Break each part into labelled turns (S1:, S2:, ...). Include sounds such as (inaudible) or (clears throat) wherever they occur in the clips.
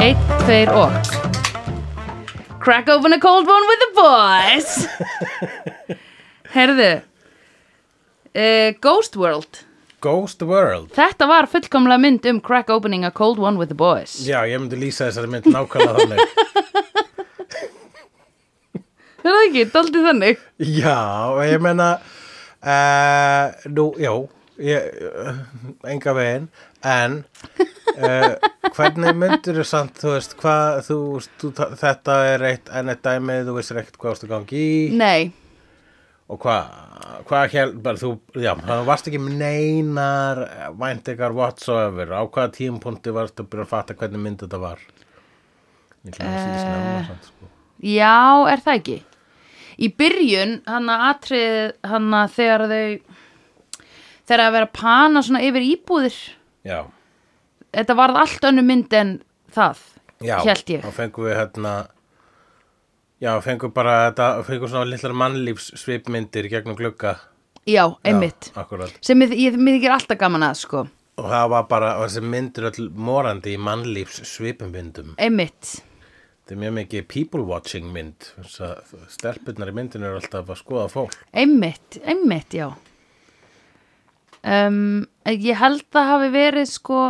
S1: þeir og Crack open a cold one with the boys
S2: (laughs)
S1: Herðu uh, Ghost World
S2: Ghost World
S1: Þetta var fullkomlega mynd um crack opening a cold one with the boys
S2: Já, ég myndi lýsa þessari mynd nákvæmlega þannig
S1: Er það ekki? Daldið þannig
S2: (laughs) Já, og ég meina uh, Nú, já ég, uh, Enga veginn En uh, Hvernig myndir þú samt Þú veist, hvað þú, þú, Þetta er eitt enn eitt dæmi Þú veist ekkert hvað ástu gangi í
S1: Nei,
S2: Og hvað Hvað held, bara þú, já, það varst ekki með neinar væntingar whatsoever, á hvaða tímpunkti varst að byrja að fatta hvernig mynd þetta var? Ég ætla að síðan snemma, samt, sko.
S1: já, er það ekki? Í byrjun, hann að atrið hann að þegar þau þegar að vera að pana svona yfir íbúðir
S2: Já.
S1: Þetta varð allt önnu mynd en það
S2: Já,
S1: Hélt ég
S2: þá fengum við hérna Já, fengum bara þetta, fengum svona litlar mannlífssvipmyndir gegnum glugga
S1: Já, einmitt
S2: Já, akkurat
S1: sem ég, ég, mér þykir alltaf gaman að sko
S2: Og það var bara, og þessi myndir öll morandi í mannlífssvipmyndum
S1: einmitt
S2: Þetta er mjög mikið people watching mynd Þess að stelpurnar í myndinu eru alltaf að skoða
S1: (laughs)
S2: fólk
S1: Einmitt, einmitt, já. Um, ég held það hafi verið sko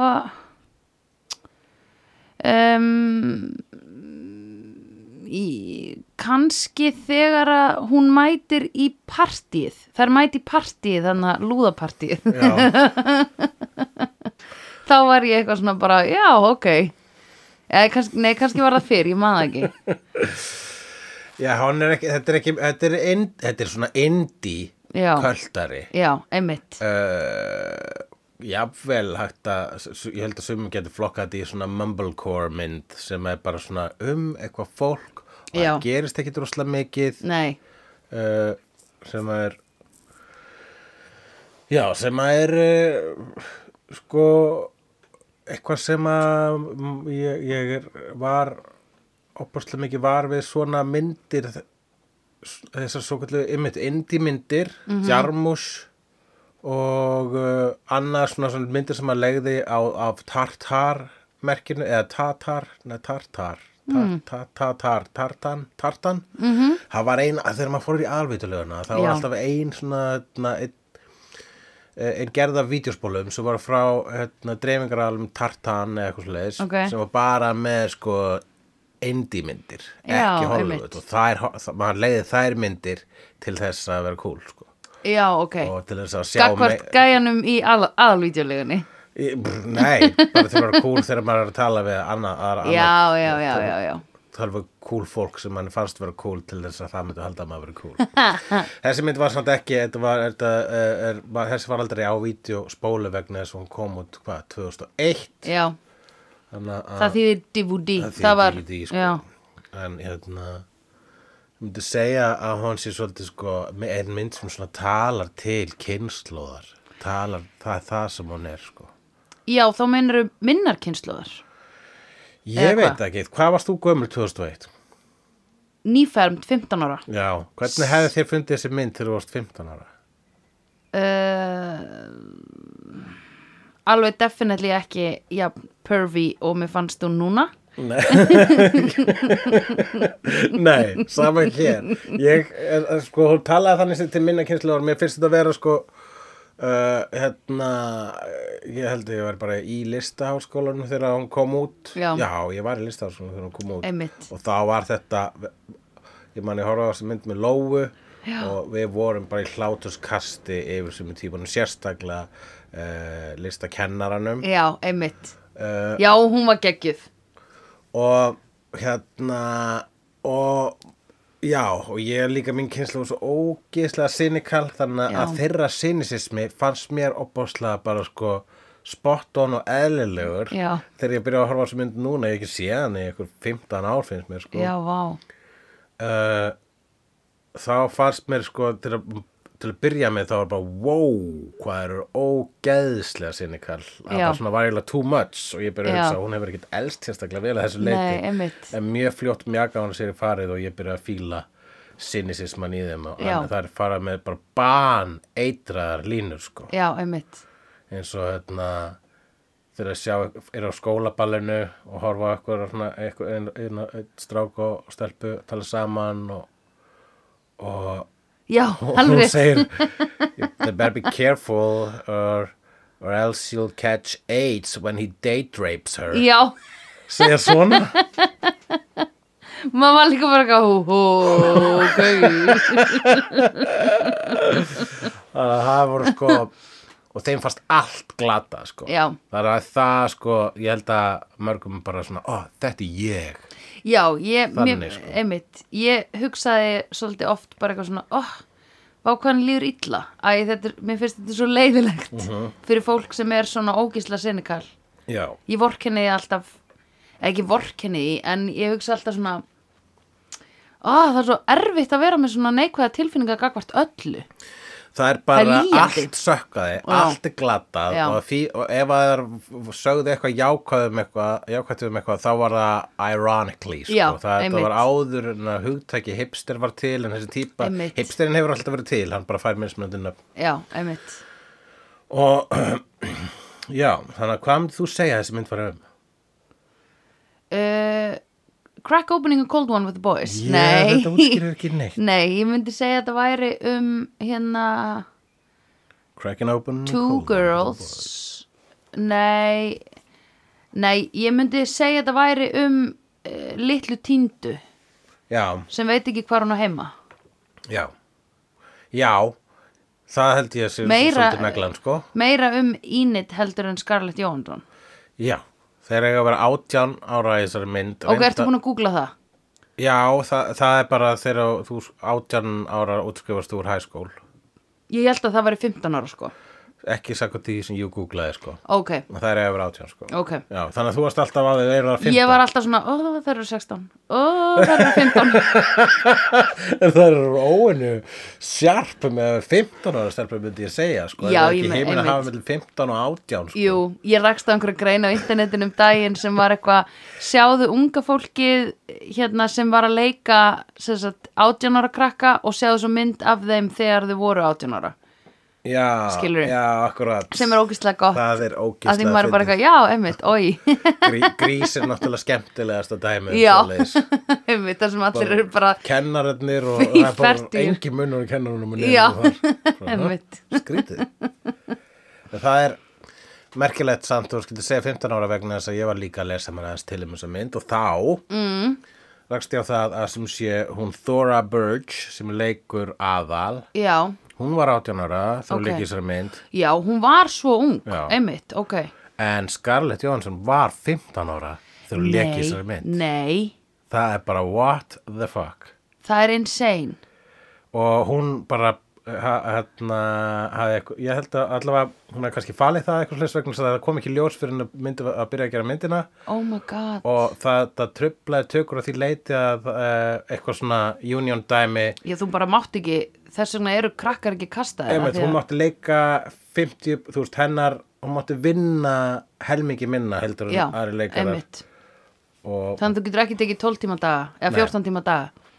S1: um, í, kannski þegar að hún mætir í partíð. Þær mæti í partíð, þannig að lúðapartíð.
S2: Já,
S1: (laughs) Þá var ég eitthvað svona bara, já, ok. Eða, kannski, nei, kannski var það fyrr, ég maður ekki.
S2: já hann er ekki, þetta er ekki, þetta er, ind, þetta er svona indie
S1: Já.
S2: költari
S1: Já, einmitt.
S2: uh, jafnvel hægt að, s- s- ég held að sumum getur flokkað þetta í svona mumblecore mynd sem er bara svona um eitthvað fólk og
S1: Já.
S2: það gerist ekki droslega mikið
S1: Nei,
S2: uh, sem er já, sem er uh, sko eitthvað sem að mm, ég, ég er, var opaslega mikið var við svona myndir s- þessar svo kallu einmitt indie myndir Jarmus og uh, annað svona, svona myndir sem að legði á, af tartar merkinu eða tatar, neða tartar Tartar, tartar, tartan, tartan mm -hmm. það var ein, að þegar maður fór í alvituleguna það var
S1: Já.
S2: alltaf ein svona na, ein, ein gerða vídeospólum sem var frá hérna, dreifingaralum tartan eða eitthvað svoleiðis
S1: Ok.
S2: sem var bara með sko indie myndir,
S1: Já,
S2: ekki
S1: einmitt.
S2: Hollywood og þær, það, maður leiði þær myndir til þess að vera cool sko.
S1: já, ok.
S2: og til þess að sjá
S1: Gagvart
S2: me-
S1: gæjanum í al- aðalvídeólegunni.
S2: Í- brr, Nei, bara til að vera cool þegar maður er að tala við annað, aðra,
S1: já, já, já, já, já.
S2: Það var cool fólk sem mann fannst vera cool til þess að það myndi halda að maður verið
S1: (laughs)
S2: cool. þessi mynd var samt ekki, þetta var, þetta, er, er, var, þessi var aldrei á vídeospólu vegna þess að hún kom út, hvað, 2001?
S1: Já,
S2: Þannig að
S1: það þýðir DVD.
S2: Ah. það
S1: Það,
S2: þýðir
S1: var,
S2: DVD, sko.
S1: já,
S2: en hérna ég myndi segja að hún sé svolítið sko er mynd sem svona talar til kynnslóðar talar, það er það sem hún er sko
S1: já, þá meinar um minnarkynnslóðar.
S2: ég
S1: Eða
S2: veit ekki, hvað varst þú gömur 2001?
S1: Nýfermt 15 ára.
S2: Já, hvernig hefði þér fundið þessi mynd þegar þú varst 15 ára?
S1: Uh, alveg definitely ekki, já, pervy og mér fannst þú núna.
S2: Nei, sama hér ég, er, er, sko, hún talaði þannig sem til minna kynnslóðar, mér finnst þetta að vera sko Uh, hérna ég held að ég var bara í listaháskólanum þegar hún kom út
S1: Já.
S2: ég var í listaháskólanum þegar hún kom út
S1: Einmitt.
S2: og þá var þetta ég man ég horfa á þessi mynd með Lóu og við vorum bara í hlátuskasti yfir sem er típunum sérstaklega uh, listakennaranum
S1: Já, einmitt.
S2: uh,
S1: Já, hún var geggjuð.
S2: og hérna og já og ég líka minn kynslu var svo ógeðslega sinikal þannig
S1: Já.
S2: að þeirra sinisismi fannst mér opbáslega bara sko spot on og eðlilegur
S1: Já.
S2: þegar ég byrja að horfa á þessu mynd núna ég hef ekki séð hann í einhver 15 ár finnst mér sko
S1: Já, vá.
S2: uh, þá fannst mér sko til að, til að byrja með þá var bara wow, hvað eru ógeðslega sinikal, það
S1: Já.
S2: var svona varjulega too much og ég byrja að
S1: Já.
S2: hugsa, hún hefur ekkert elst sérstaklega vel að þessu
S1: Nei,
S2: leiti
S1: einmitt.
S2: en mjög fljótt mjaka hann sér í farið og ég byrja að fíla sinisisman í þeim og
S1: Já.
S2: það er farað með bara ban eitraðar línur sko
S1: Já, einmitt.
S2: eins og hérna þegar að sjá er á skólaballinu og horfa á eitthvað, svona, eitthvað ein, ein, ein, strák og stelpu tala saman og, og
S1: Já,
S2: og hún
S1: alveg.
S2: segir they better be careful or, or else you'll catch AIDS when he date rapes her
S1: Já,
S2: segja svona
S1: maður var líka bara eitthvað hú, hú, gauð.
S2: Þannig að það voru sko og þeim fannst allt glata sko
S1: Já.
S2: það er að það sko ég held að mörgum bara svona ó þetta er ég
S1: Já, ég, mér,
S2: Þannig, sko.
S1: einmitt, ég hugsaði svolítið oft bara eitthvað svona, oh, vákvæðan líður illa. Æ, þetta er, mér finnst þetta svo leiðilegt
S2: Mhm.
S1: fyrir fólk sem er svona ógísla sinikal.
S2: já,
S1: Ég vorkenni því alltaf, eða ekki vorkenni því, en ég hugsa alltaf svona, oh, það er svo erfitt að vera með svona neikvæða tilfinninga gagvart öllu.
S2: það er bara
S1: Það er lýjandi.
S2: allt sökkaði,
S1: Já.
S2: allt er glatað
S1: Já.
S2: og, fí, og ef að það sögðu eitthvað jákvæðum eitthvað, jákvæðum eitthvað þá var það ironically sko.
S1: Já,
S2: það, það
S1: einmitt.
S2: var áður en að hugtæki hipster var til en þessi típa,
S1: Einmitt.
S2: hipsterin hefur alltaf verið til hann bara fær minnsmyndin upp
S1: Já, einmitt.
S2: og (clears throat) já, þannig að hvað myndir þú segja að þessi mynd var um?
S1: Uh, crack opening a cold one with the boys.
S2: Ég-
S1: Nei.
S2: þetta útskýrir ekki neitt
S1: (laughs) Nei, ég myndi segja að þetta væri um hérna
S2: Cracking open
S1: Two
S2: cold
S1: Girls Nei Nei, ég myndi segja að þetta væri um uh, litlu týndu
S2: Já,
S1: sem veit ekki hvar hún á heima
S2: já Já, það held ég að sé
S1: Meira-
S2: svolítið neglan sko
S1: Meira um Ínit heldur en Scarlett Jóhannsson
S2: Já, þeir eiga að vera átján ára í þessari mynd
S1: Ok, ertu búin að googla það?
S2: Já, það, það er bara þegar þú átján ára útskrifast úr hæskól
S1: Ég held að það væri 15 ára sko
S2: Ekki sagt því sem ég googlaði sko
S1: Ok,
S2: Það er eiga að vera átján sko
S1: ok
S2: Já, þannig að þú varst alltaf að þeir eru
S1: Ég
S2: að finna
S1: var alltaf svona, ó það eru 16 Ó það eru 15
S2: (laughs) Það eru óinu sjarp með 15 ára stelpur myndi ég segja sko
S1: Já,
S2: Það
S1: ég
S2: er ekki
S1: me-
S2: heiminn að
S1: einmitt.
S2: hafa mellum 15 og átján sko
S1: Jú, ég rakst á einhverja grein á internetinu um daginn sem var eitthvað sjáðu unga fólkið hérna sem var að leika sem sagt, 18 ára krakka og sjáðu svo mynd af þeim þegar þau voru 18 ára
S2: Já,
S1: Skilurðu?
S2: já, akkurat
S1: sem er ógeðslega gott
S2: Það er ógeðslega
S1: að því maður er bara
S2: fyndið.
S1: eitthvað, já, einmitt, oi
S2: Grí, grís er náttúrulega skemmtilegasta dæmi um
S1: Já.
S2: svoleiðis.
S1: (laughs) einmitt, það sem allir eru bara
S2: Kennararnir og
S1: (laughs) Í
S2: það er bara
S1: fertíu.
S2: engi munur á kennarunum og
S1: Já. (laughs)
S2: nefnum
S1: Einmitt.
S2: Skrítið En Það er merkilegt samt og skiltið segja 15 ára vegna þess að ég var líka að lesa mér aðeins til um þessa mynd og þá mm. rakst ég á það að sem sé hún Thora Birch sem leikur aðal
S1: já,
S2: hún var 18 ára þegar
S1: Ok.
S2: hún leikir þessari mynd
S1: já, hún var svo ung
S2: Já.
S1: einmitt, ok
S2: en Scarlett Johansson var 15 ára þegar hún leikir þessari mynd
S1: nei,
S2: Það er bara what the fuck
S1: það er insane
S2: og hún bara ha, hérna, hafði eitthvað ég held að allavega hún hafði kannski falið það eitthvað slags vegna þess að það kom ekki í ljós fyrir að myndi að byrja að gera myndina
S1: oh my god,
S2: og það, það trublaði tökur að því leiti að uh, eitthvað svona union dæmi
S1: já, þú bara mátt ekki þess vegna eru krakkar ekki kastaðir af
S2: Einmitt,
S1: því
S2: hún
S1: að-
S2: mátti leika 50, þú veist hennar hún mátti vinna helmingi minna heldur en
S1: já,
S2: aðri leikarar
S1: einmitt
S2: og,
S1: Þannig að þú getur ekki tekið 12 tíma daga eða
S2: Nei.
S1: 14 tíma daga.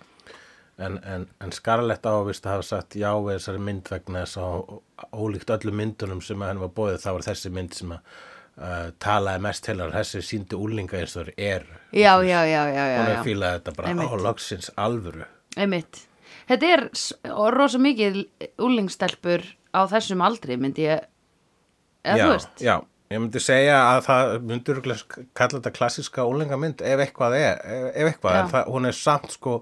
S2: en, en, en Scarlett ávist að hafa sagt já við þessari mynd vegna þess að ó- ólíkt öllum myndunum sem að henni var bóðið þá var þessi mynd sem að uh, talaði mest til hennar þessi síndi úlinga eins og þeir eru
S1: Já, já, já, já, já.
S2: hún er
S1: já.
S2: fílað þetta bara
S1: Einmitt.
S2: á loksins alvöru
S1: Einmitt. Þetta er s- og rosa mikið úlingstelpur á þessum aldri, myndi ég, eða
S2: já,
S1: þú veist.
S2: já, ég myndi segja að það myndur kalla þetta klassiska úlinga mynd ef eitthvað er, ef, ef eitthvað
S1: Já.
S2: en það, hún er samt sko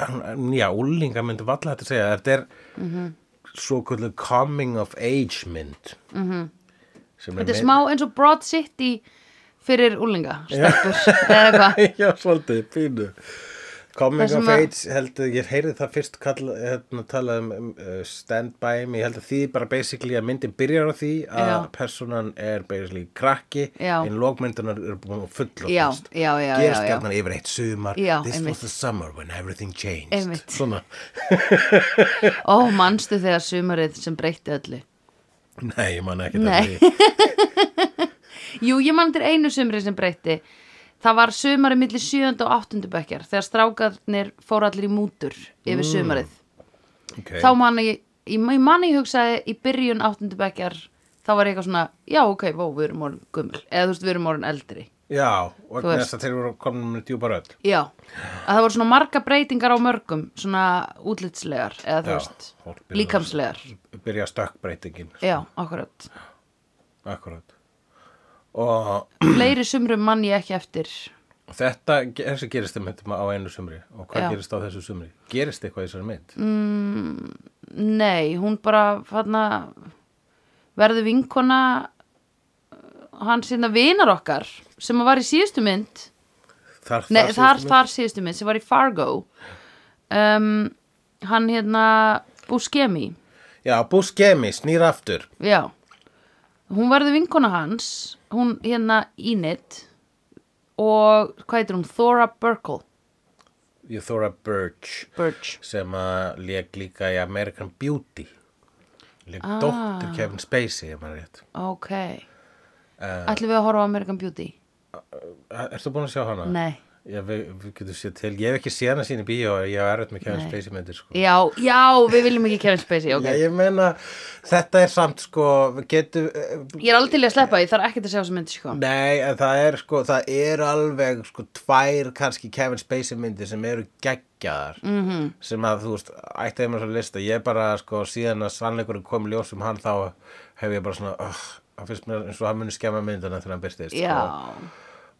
S2: hún- já, úlinga mynd valla þetta segja, þetta er
S1: Mhm.
S2: svo kvöldu coming of age mynd mm -hmm.
S1: Mhm. Þetta er smá eins og Broad City fyrir úlingastelpur, eða
S2: (laughs)
S1: hvað.
S2: Já, svolítið, pínu. Coming
S1: Það sem
S2: of
S1: að-
S2: Age, held að ég heyrði það fyrst kalla, hérna, talað um, um uh, Stand By Me, ég held að því bara basically að myndin byrjar á því að
S1: Já.
S2: personan er basically krakki
S1: Já.
S2: en lókmyndunar eru búin að fulla
S1: Já, já, já, já,
S2: Gerst
S1: já.
S2: gjarnan yfir eitt sumar
S1: Já,
S2: This
S1: einmitt.
S2: was the summer when everything changed
S1: Einmitt.
S2: Svona, (laughs)
S1: Ó, manstu þegar sumarið sem breytti öllu.
S2: nei, ég man ekki
S1: Nei. (laughs) Jú, ég mann til einu sumrið sem breytti. Það var sumarið milli 7. og 8. bekkjar þegar strákarnir fóru allir í mútur yfir
S2: Mm.
S1: sumarið.
S2: okay.
S1: þá man ég, ég, ég man ég hugsaði í byrjun áttundu bekkjar þá þá var ég eitthvað svona, já ok, vó, við erum orðin gummul eða þú veist, við erum orðin eldri
S2: Já, og
S1: Þú
S2: þess að þeir voru komin með djúpa rödd.
S1: já, að það voru svona marga breytingar á mörgum svona útlitslegar eða þú
S2: Já,
S1: veist,
S2: fólk byrjar-
S1: líkamslegar
S2: Byrja stökkbreytingin,
S1: já, akkurat
S2: akkurat. Og
S1: fleiri sumrum mann ég ekki eftir
S2: þetta, þessi gerist þeim myndum á einu sumri. Og hvað
S1: Já. Mm.
S2: gerist á þessu sumri? Gerist eitthvað í þessari mynd?
S1: nei, hún bara þarna, verður vinkona hans hérna vinar okkar sem var í síðustu mynd
S2: Þar,
S1: Nei,
S2: síðustu
S1: þar,
S2: mynd-
S1: þar síðustu minn sem var í Fargo um, Hann hérna Buscemi,
S2: Já, Buscemi snýr aftur.
S1: já Hún verður vinkona hans Hún hérna Enid og hvað heitir hún? Thora Burkle
S2: Thora Birch
S1: Birch
S2: sem að lék líka í American Beauty. Lék ah. dóttur Kevin Spacey, ef maður rétt.
S1: Ok
S2: Eh.
S1: Ætlum við að horfa á American Beauty?
S2: Ertu búin að sjá hana?
S1: Nei
S2: Já, við, við getum séð til. Ég hef ekki séð hana sín í bíó, ég hef erfitt með Kevin
S1: Nei.
S2: Spacey myndir, sko.
S1: Já, já, við viljum ekki Kevin Spacey, ok
S2: Já, ég meina, þetta er samt sko, við getum,
S1: Ég er aldrei til í að sleppa, ég þarf ekkert að sjá sem myndi sko
S2: nei, en það er sko, það er alveg sko tvær kannski Kevin Spacey myndir sem eru geggjaðar, -hmm. sem að þú veist, ætti þeim að svo lista, ég bara sko síðan að sannleikurinn kom í ljós um hann þá hef ég bara svona, oh, það finnst mér eins og hann muni skemma myndina þegar hann byrstist, sko.
S1: Já,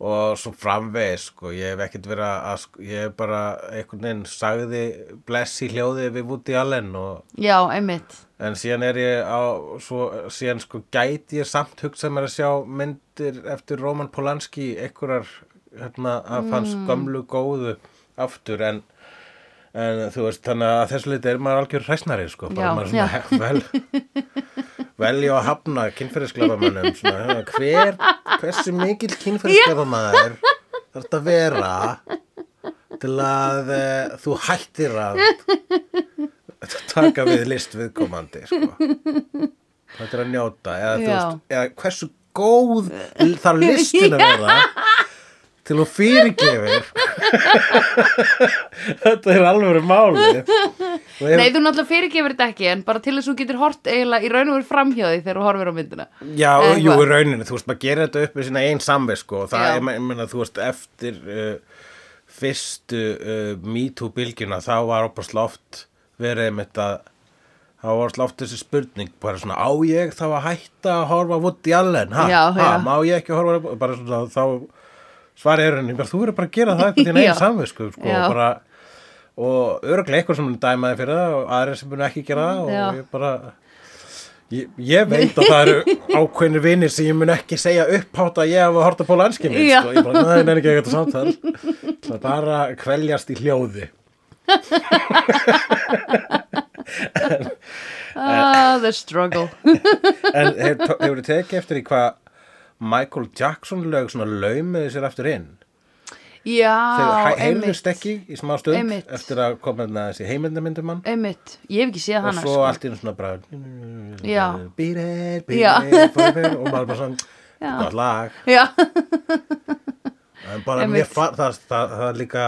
S2: Og svo framvegis, sko, ég hef ekkert verið að, sko, ég hef bara einhvern veginn sagði blessi hljóðið við Woody Allen og
S1: já, einmitt
S2: En síðan er ég á, svo, síðan sko gæti ég samt hugsað mér að sjá myndir eftir Roman Polanski einhverjar hérna af hans
S1: Mm.
S2: gömlu góðu aftur en, en þú veist þannig að að þessu liti er maður algjör hræsnari sko,
S1: Já,
S2: bara maður svona (laughs) vel, velja að hafna kynferðisglæfamannum svona, hver, hversu mikill kynferðisglæfamaður þarf þetta að vera til að uh, þú hættir að taka við list viðkomandi sko. þetta er að njóta eða, þú
S1: Já.
S2: veist, eða hversu góð þarf listin að vera til þú fyrirgefir (laughs) þetta er alveg máli
S1: Nei, þú náttúrulega fyrirgefur þetta ekki en bara til þess að þú getur hort eiginlega í raun og verið framhjóði þegar þú horfir á myndina.
S2: Já,
S1: Eða
S2: jú,
S1: eitthvað.
S2: í rauninu, þú veist, maður gerir þetta upp með sína einn samveg, sko, og það
S1: Já.
S2: er, ég meina, þú veist, eftir uh, fyrstu uh, MeToo-bylgjuna, þá var opaslega oft verið með þetta, þá var opaslega oft þessi spurning, bara svona, á ég þá að hætta að horfa á Woody Allen, ha,
S1: Já,
S2: ha,
S1: já.
S2: má ég ekki horfa, á- bara svona, þá svarið er rauninni, bara, þú verður bara að gera það eftir þín
S1: Já.
S2: einn samveg, sko, sko,
S1: Já.
S2: bara, og örglega eitthvað sem mun dæmaði fyrir það og aðrir sem mun ekki gera það og
S1: Já.
S2: ég bara ég, ég veit að það
S1: (laughs)
S2: eru ákveðnir vinir sem ég mun ekki segja upphátt að ég hafa horta pól anskinni
S1: Já.
S2: sko. ég bara, neða, neða ekki eitthvað samtal það er bara að kveljast í hljóði Eh.
S1: Ah, the
S2: (laughs)
S1: struggle.
S2: en hefur hefur þið tekið eftir í hvað Michael Jackson lög svona laumiði sér aftur inn
S1: Já,
S2: þegar
S1: einmitt,
S2: heyrðust ekki í smá stund
S1: Einmitt.
S2: eftir að koma þarna þessi heimildamindum hann
S1: einmitt. Ég hef ekki séð
S2: og
S1: hana,
S2: svo
S1: sko.
S2: allt í einu svona bara
S1: Já.
S2: beat it, beat
S1: Já.
S2: it, for it og maður bara svona, gott lag (laughs)
S1: Já,
S2: en bara
S1: Einmitt.
S2: mér fann það, það, það líka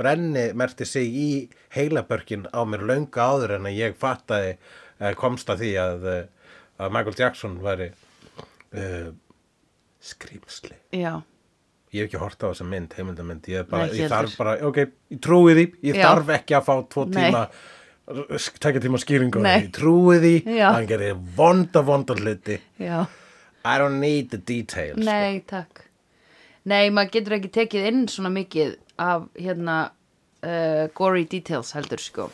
S2: brenni merti sig í heilabörkin á mér löngu áður en að ég fattaði eh, komst að því að, eh, að Michael Jackson væri uh, skrýmsli
S1: já,
S2: ég hef ekki hort á þessa mynd, heimildamynd ég, er bara,
S1: Nei, ekki
S2: ég þarf
S1: heldur.
S2: bara, ok, ég trúi því ég
S1: Já.
S2: þarf ekki að fá tvo
S1: Nei.
S2: tíma tekja tíma skýringu á
S1: Nei.
S2: því. ég trúi því,
S1: Já.
S2: að hann gerir vonda vonda hluti
S1: já.
S2: I don't need the details
S1: Nei, takk. Nei, maður getur ekki tekið inn svona mikið af, hérna, uh, gory details heldur, sko.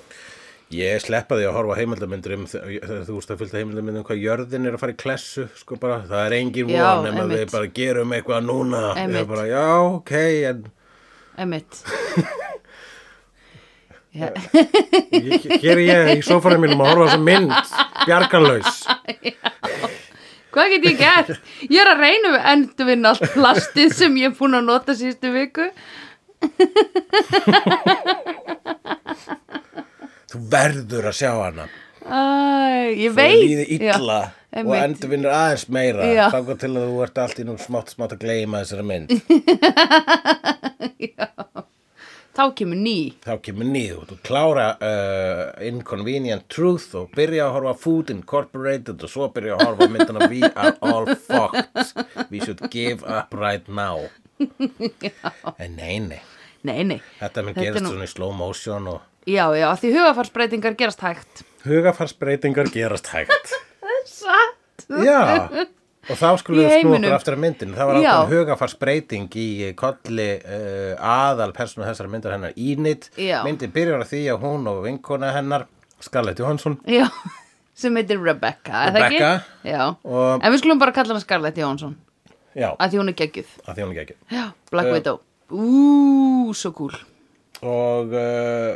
S2: Ég sleppa því að horfa á heimildamindur um þ- þ- þú veist að fylgta heimildamindur um hvað jörðin er að fara í klessu sko bara, það er engin
S1: Já,
S2: von nema
S1: einmitt.
S2: við bara gerum eitthvað núna ég
S1: Einmitt.
S2: er bara, já, ok, en (laughs)
S1: Einmitt. Já,
S2: ég, hér er ég í sófanum mínum að horfa á þessa mynd bjargarlaus
S1: Hvað get ég gert? Ég er að reyna við endurvinna allt plastið sem ég er búin að nota síðustu viku.
S2: þú verður að sjá hana
S1: Æ, ég
S2: þú
S1: veit
S2: líði illa
S1: já,
S2: og
S1: einmitt.
S2: endurvinnur aðeins meira
S1: Já.
S2: þangar til að þú ert allt í nú smátt smátt að gleyma þessari mynd
S1: þá kemur ný
S2: þá kemur nýð og klára uh, Inconvenient Truth og byrja að horfa á Food Incorporated og svo byrja að horfa á myndina We are all fucked We should give up right
S1: (laughs)
S2: now en nei, nei
S1: Nei, nei,
S2: þetta mun
S1: Þetta er
S2: gerast
S1: nú-
S2: svona í slow motion og
S1: já, já, af því hugafarsbreytingar gerast hægt
S2: hugafarsbreytingar gerast hægt
S1: Satt
S2: (laughs) já og þá skulum
S1: Í
S2: við snú
S1: heiminum.
S2: okkur aftur að myndin það var
S1: Já.
S2: ákveðin hugafarsbreyting í eh, kolli uh, aðal personu þessar myndar hennar Ínit
S1: Já.
S2: myndin byrjar á því að hún og vinkona hennar Scarlett Johansson
S1: Já, (laughs) sem heitir Rebecca, er það
S2: Rebecca.
S1: ekki? Já,
S2: Og-
S1: en við skulum bara kalla hana Scarlett Jónsson
S2: já,
S1: að því hún er geggjuð
S2: að því hún er ekki
S1: Já, Black Widow Ú, svo cool
S2: og uh,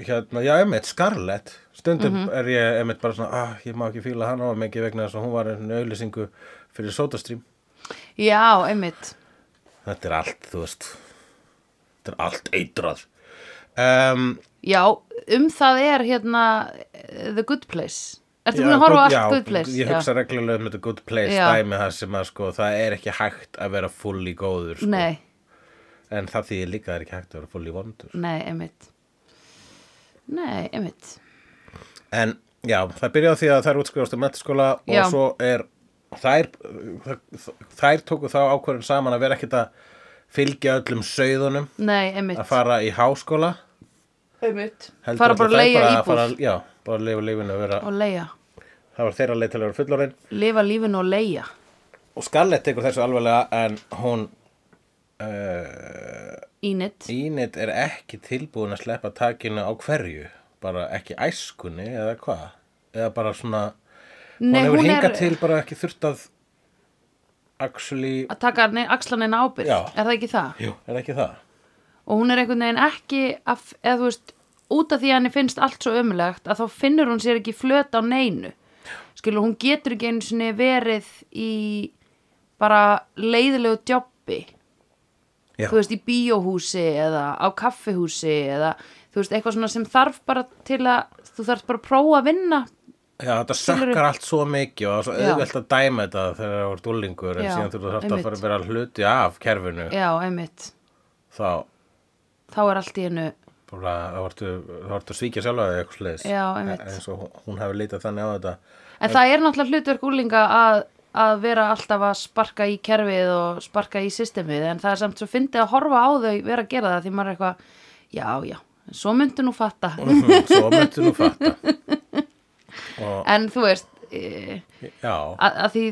S2: hérna, já, emitt, Scarlett stundum
S1: Mhm.
S2: er ég emitt bara svona ah, ég má ekki fíla hana á mikið vegna þess að hún var einu auðlýsingu fyrir sótastrím
S1: Já, einmitt
S2: þetta er allt, þú veist þetta er allt eitrað um,
S1: Já, um það er hérna eh, The Good Place Ertu búin
S2: já,
S1: að horfa á
S2: good-
S1: allt
S2: já,
S1: Good Place?
S2: ég hugsa reglulega um þetta good place
S1: Já.
S2: dæmi það sem að sko, það er ekki hægt að vera fulli góður sko.
S1: Nei,
S2: en það því líka að það er ekki hægt að vera fulli vondur
S1: nei, einmitt Nei, einmitt
S2: En já, það byrjaði á því að þær útskrifast um mentaskóla og
S1: Já.
S2: svo er þær, þær tóku þá ákvörðin saman að vera ekkert að fylgja öllum sauðunum
S1: Nei, einmitt
S2: að fara í háskóla
S1: Einmitt
S2: heldur
S1: Fara
S2: ætla
S1: bara að
S2: þær
S1: leia
S2: bara að
S1: íbúð
S2: fara- Já, bara að lifa lífinu að vera
S1: og leia
S2: það var þeirra leið til að vera fullorinn
S1: Lifa lífinu og leia
S2: og Scarlett tekur þessu alveglega en hún uh,
S1: Ínit
S2: Ínit er ekki tilbúin að sleppa takinu á hverju bara ekki æskunni eða hvað eða bara svona
S1: Nei,
S2: hún hefur
S1: hún
S2: hingað
S1: er-
S2: til bara ekki þurft að actually,
S1: Að taka ne- axlanina ábyrgð
S2: Já.
S1: Er það ekki það?
S2: jú, er ekki það
S1: og hún er einhvern veginn ekki að, eða þú veist, út af því að henni finnst allt svo ömulegt að þá finnur hún sér ekki flöt á neinu skilur, hún getur ekki einu sinni verið í bara leiðilegu djóppi
S2: Já.
S1: þú veist, í bíóhúsi eða á kaffihúsi eða þú veist, eitthvað svona sem þarf bara til að þú þarf bara að prófa að vinna
S2: Já, þetta
S1: Skilurðu?
S2: sökkar allt svo mikið og það er svo
S1: Já.
S2: auðvelt að dæma þetta þegar það voru dúlingur en
S1: Já,
S2: síðan þú þarft að
S1: einmitt.
S2: fara að vera hluti af kerfinu
S1: já, einmitt,
S2: þá
S1: þá er allt í hennu
S2: bara, þá vartu, þá vartu að svíkja sjálfa eða eitthvað sliðis
S1: Já, einmitt.
S2: eins og hún, hún hefur leitað þannig á þetta
S1: En það er náttúrulega hlutverk úlinga að, að vera alltaf að sparka í kerfið og sparka í systemið en það er samt svo fyndið að horfa á þau vera að gera það því maður er eitthvað, já, já, en svo myndu nú fatta.
S2: Mhm, (laughs) svo myndu nú fatta
S1: En þú veist, e,
S2: Já,
S1: að, að því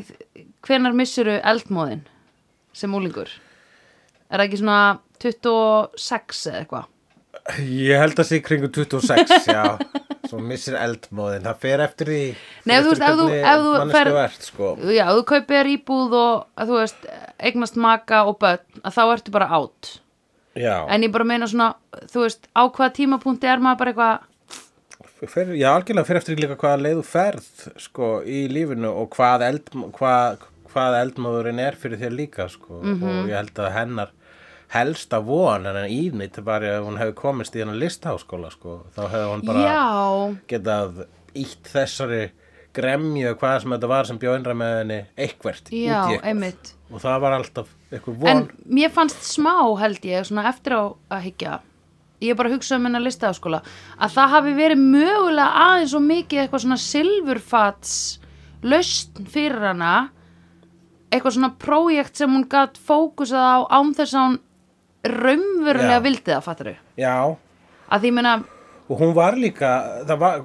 S1: hvenar missuru eldmóðin sem úlingur? Er það ekki svona 26 eða eitthvað?
S2: ég held að sé í kringum 26, já svo missir eldmóðin, það fer eftir því
S1: Nei,
S2: fer
S1: ef þú
S2: eftir
S1: veist, ef þú-
S2: hvernig
S1: ef þú
S2: manneskja
S1: ferð-
S2: þú ert, sko.
S1: Já, ef þú kaupir íbúð og að þú veist, eignast maka og börn, að þá ertu bara átt.
S2: Já,
S1: En ég bara meina svona, þú veist, á hvaða tímapunkti er maður bara eitthvað,
S2: fer, já, algjörlega fer eftir líka hvaða leið þú ferð sko, í lífinu og hvað, eld, hvað, hvað eldmóðurinn er fyrir þér líka sko.
S1: Mhm.
S2: og ég held að hennar helsta von en ínit var að hún hefði komist í hennar listháskóla sko. þá hefði hún bara
S1: já,
S2: getað ítt þessari gremju hvað sem þetta var sem bjó innra með henni eitthvert út í
S1: Já,
S2: eitthvað.
S1: einmitt.
S2: og það var alltaf eitthvað von
S1: En mér fannst smá held ég svona eftir á að higgja ég er bara að hugsa um hennar listaháskóla að það hafi verið mögulega aðeins og mikið eitthvað svona silfurfats lausn fyrir hana eitthvað svona prójekt sem hún gætt fókusað á án þess að hún raunverulega
S2: Já.
S1: vildi það, fattar þau?
S2: Já,
S1: Að því ég meina,
S2: og hún var líka það var,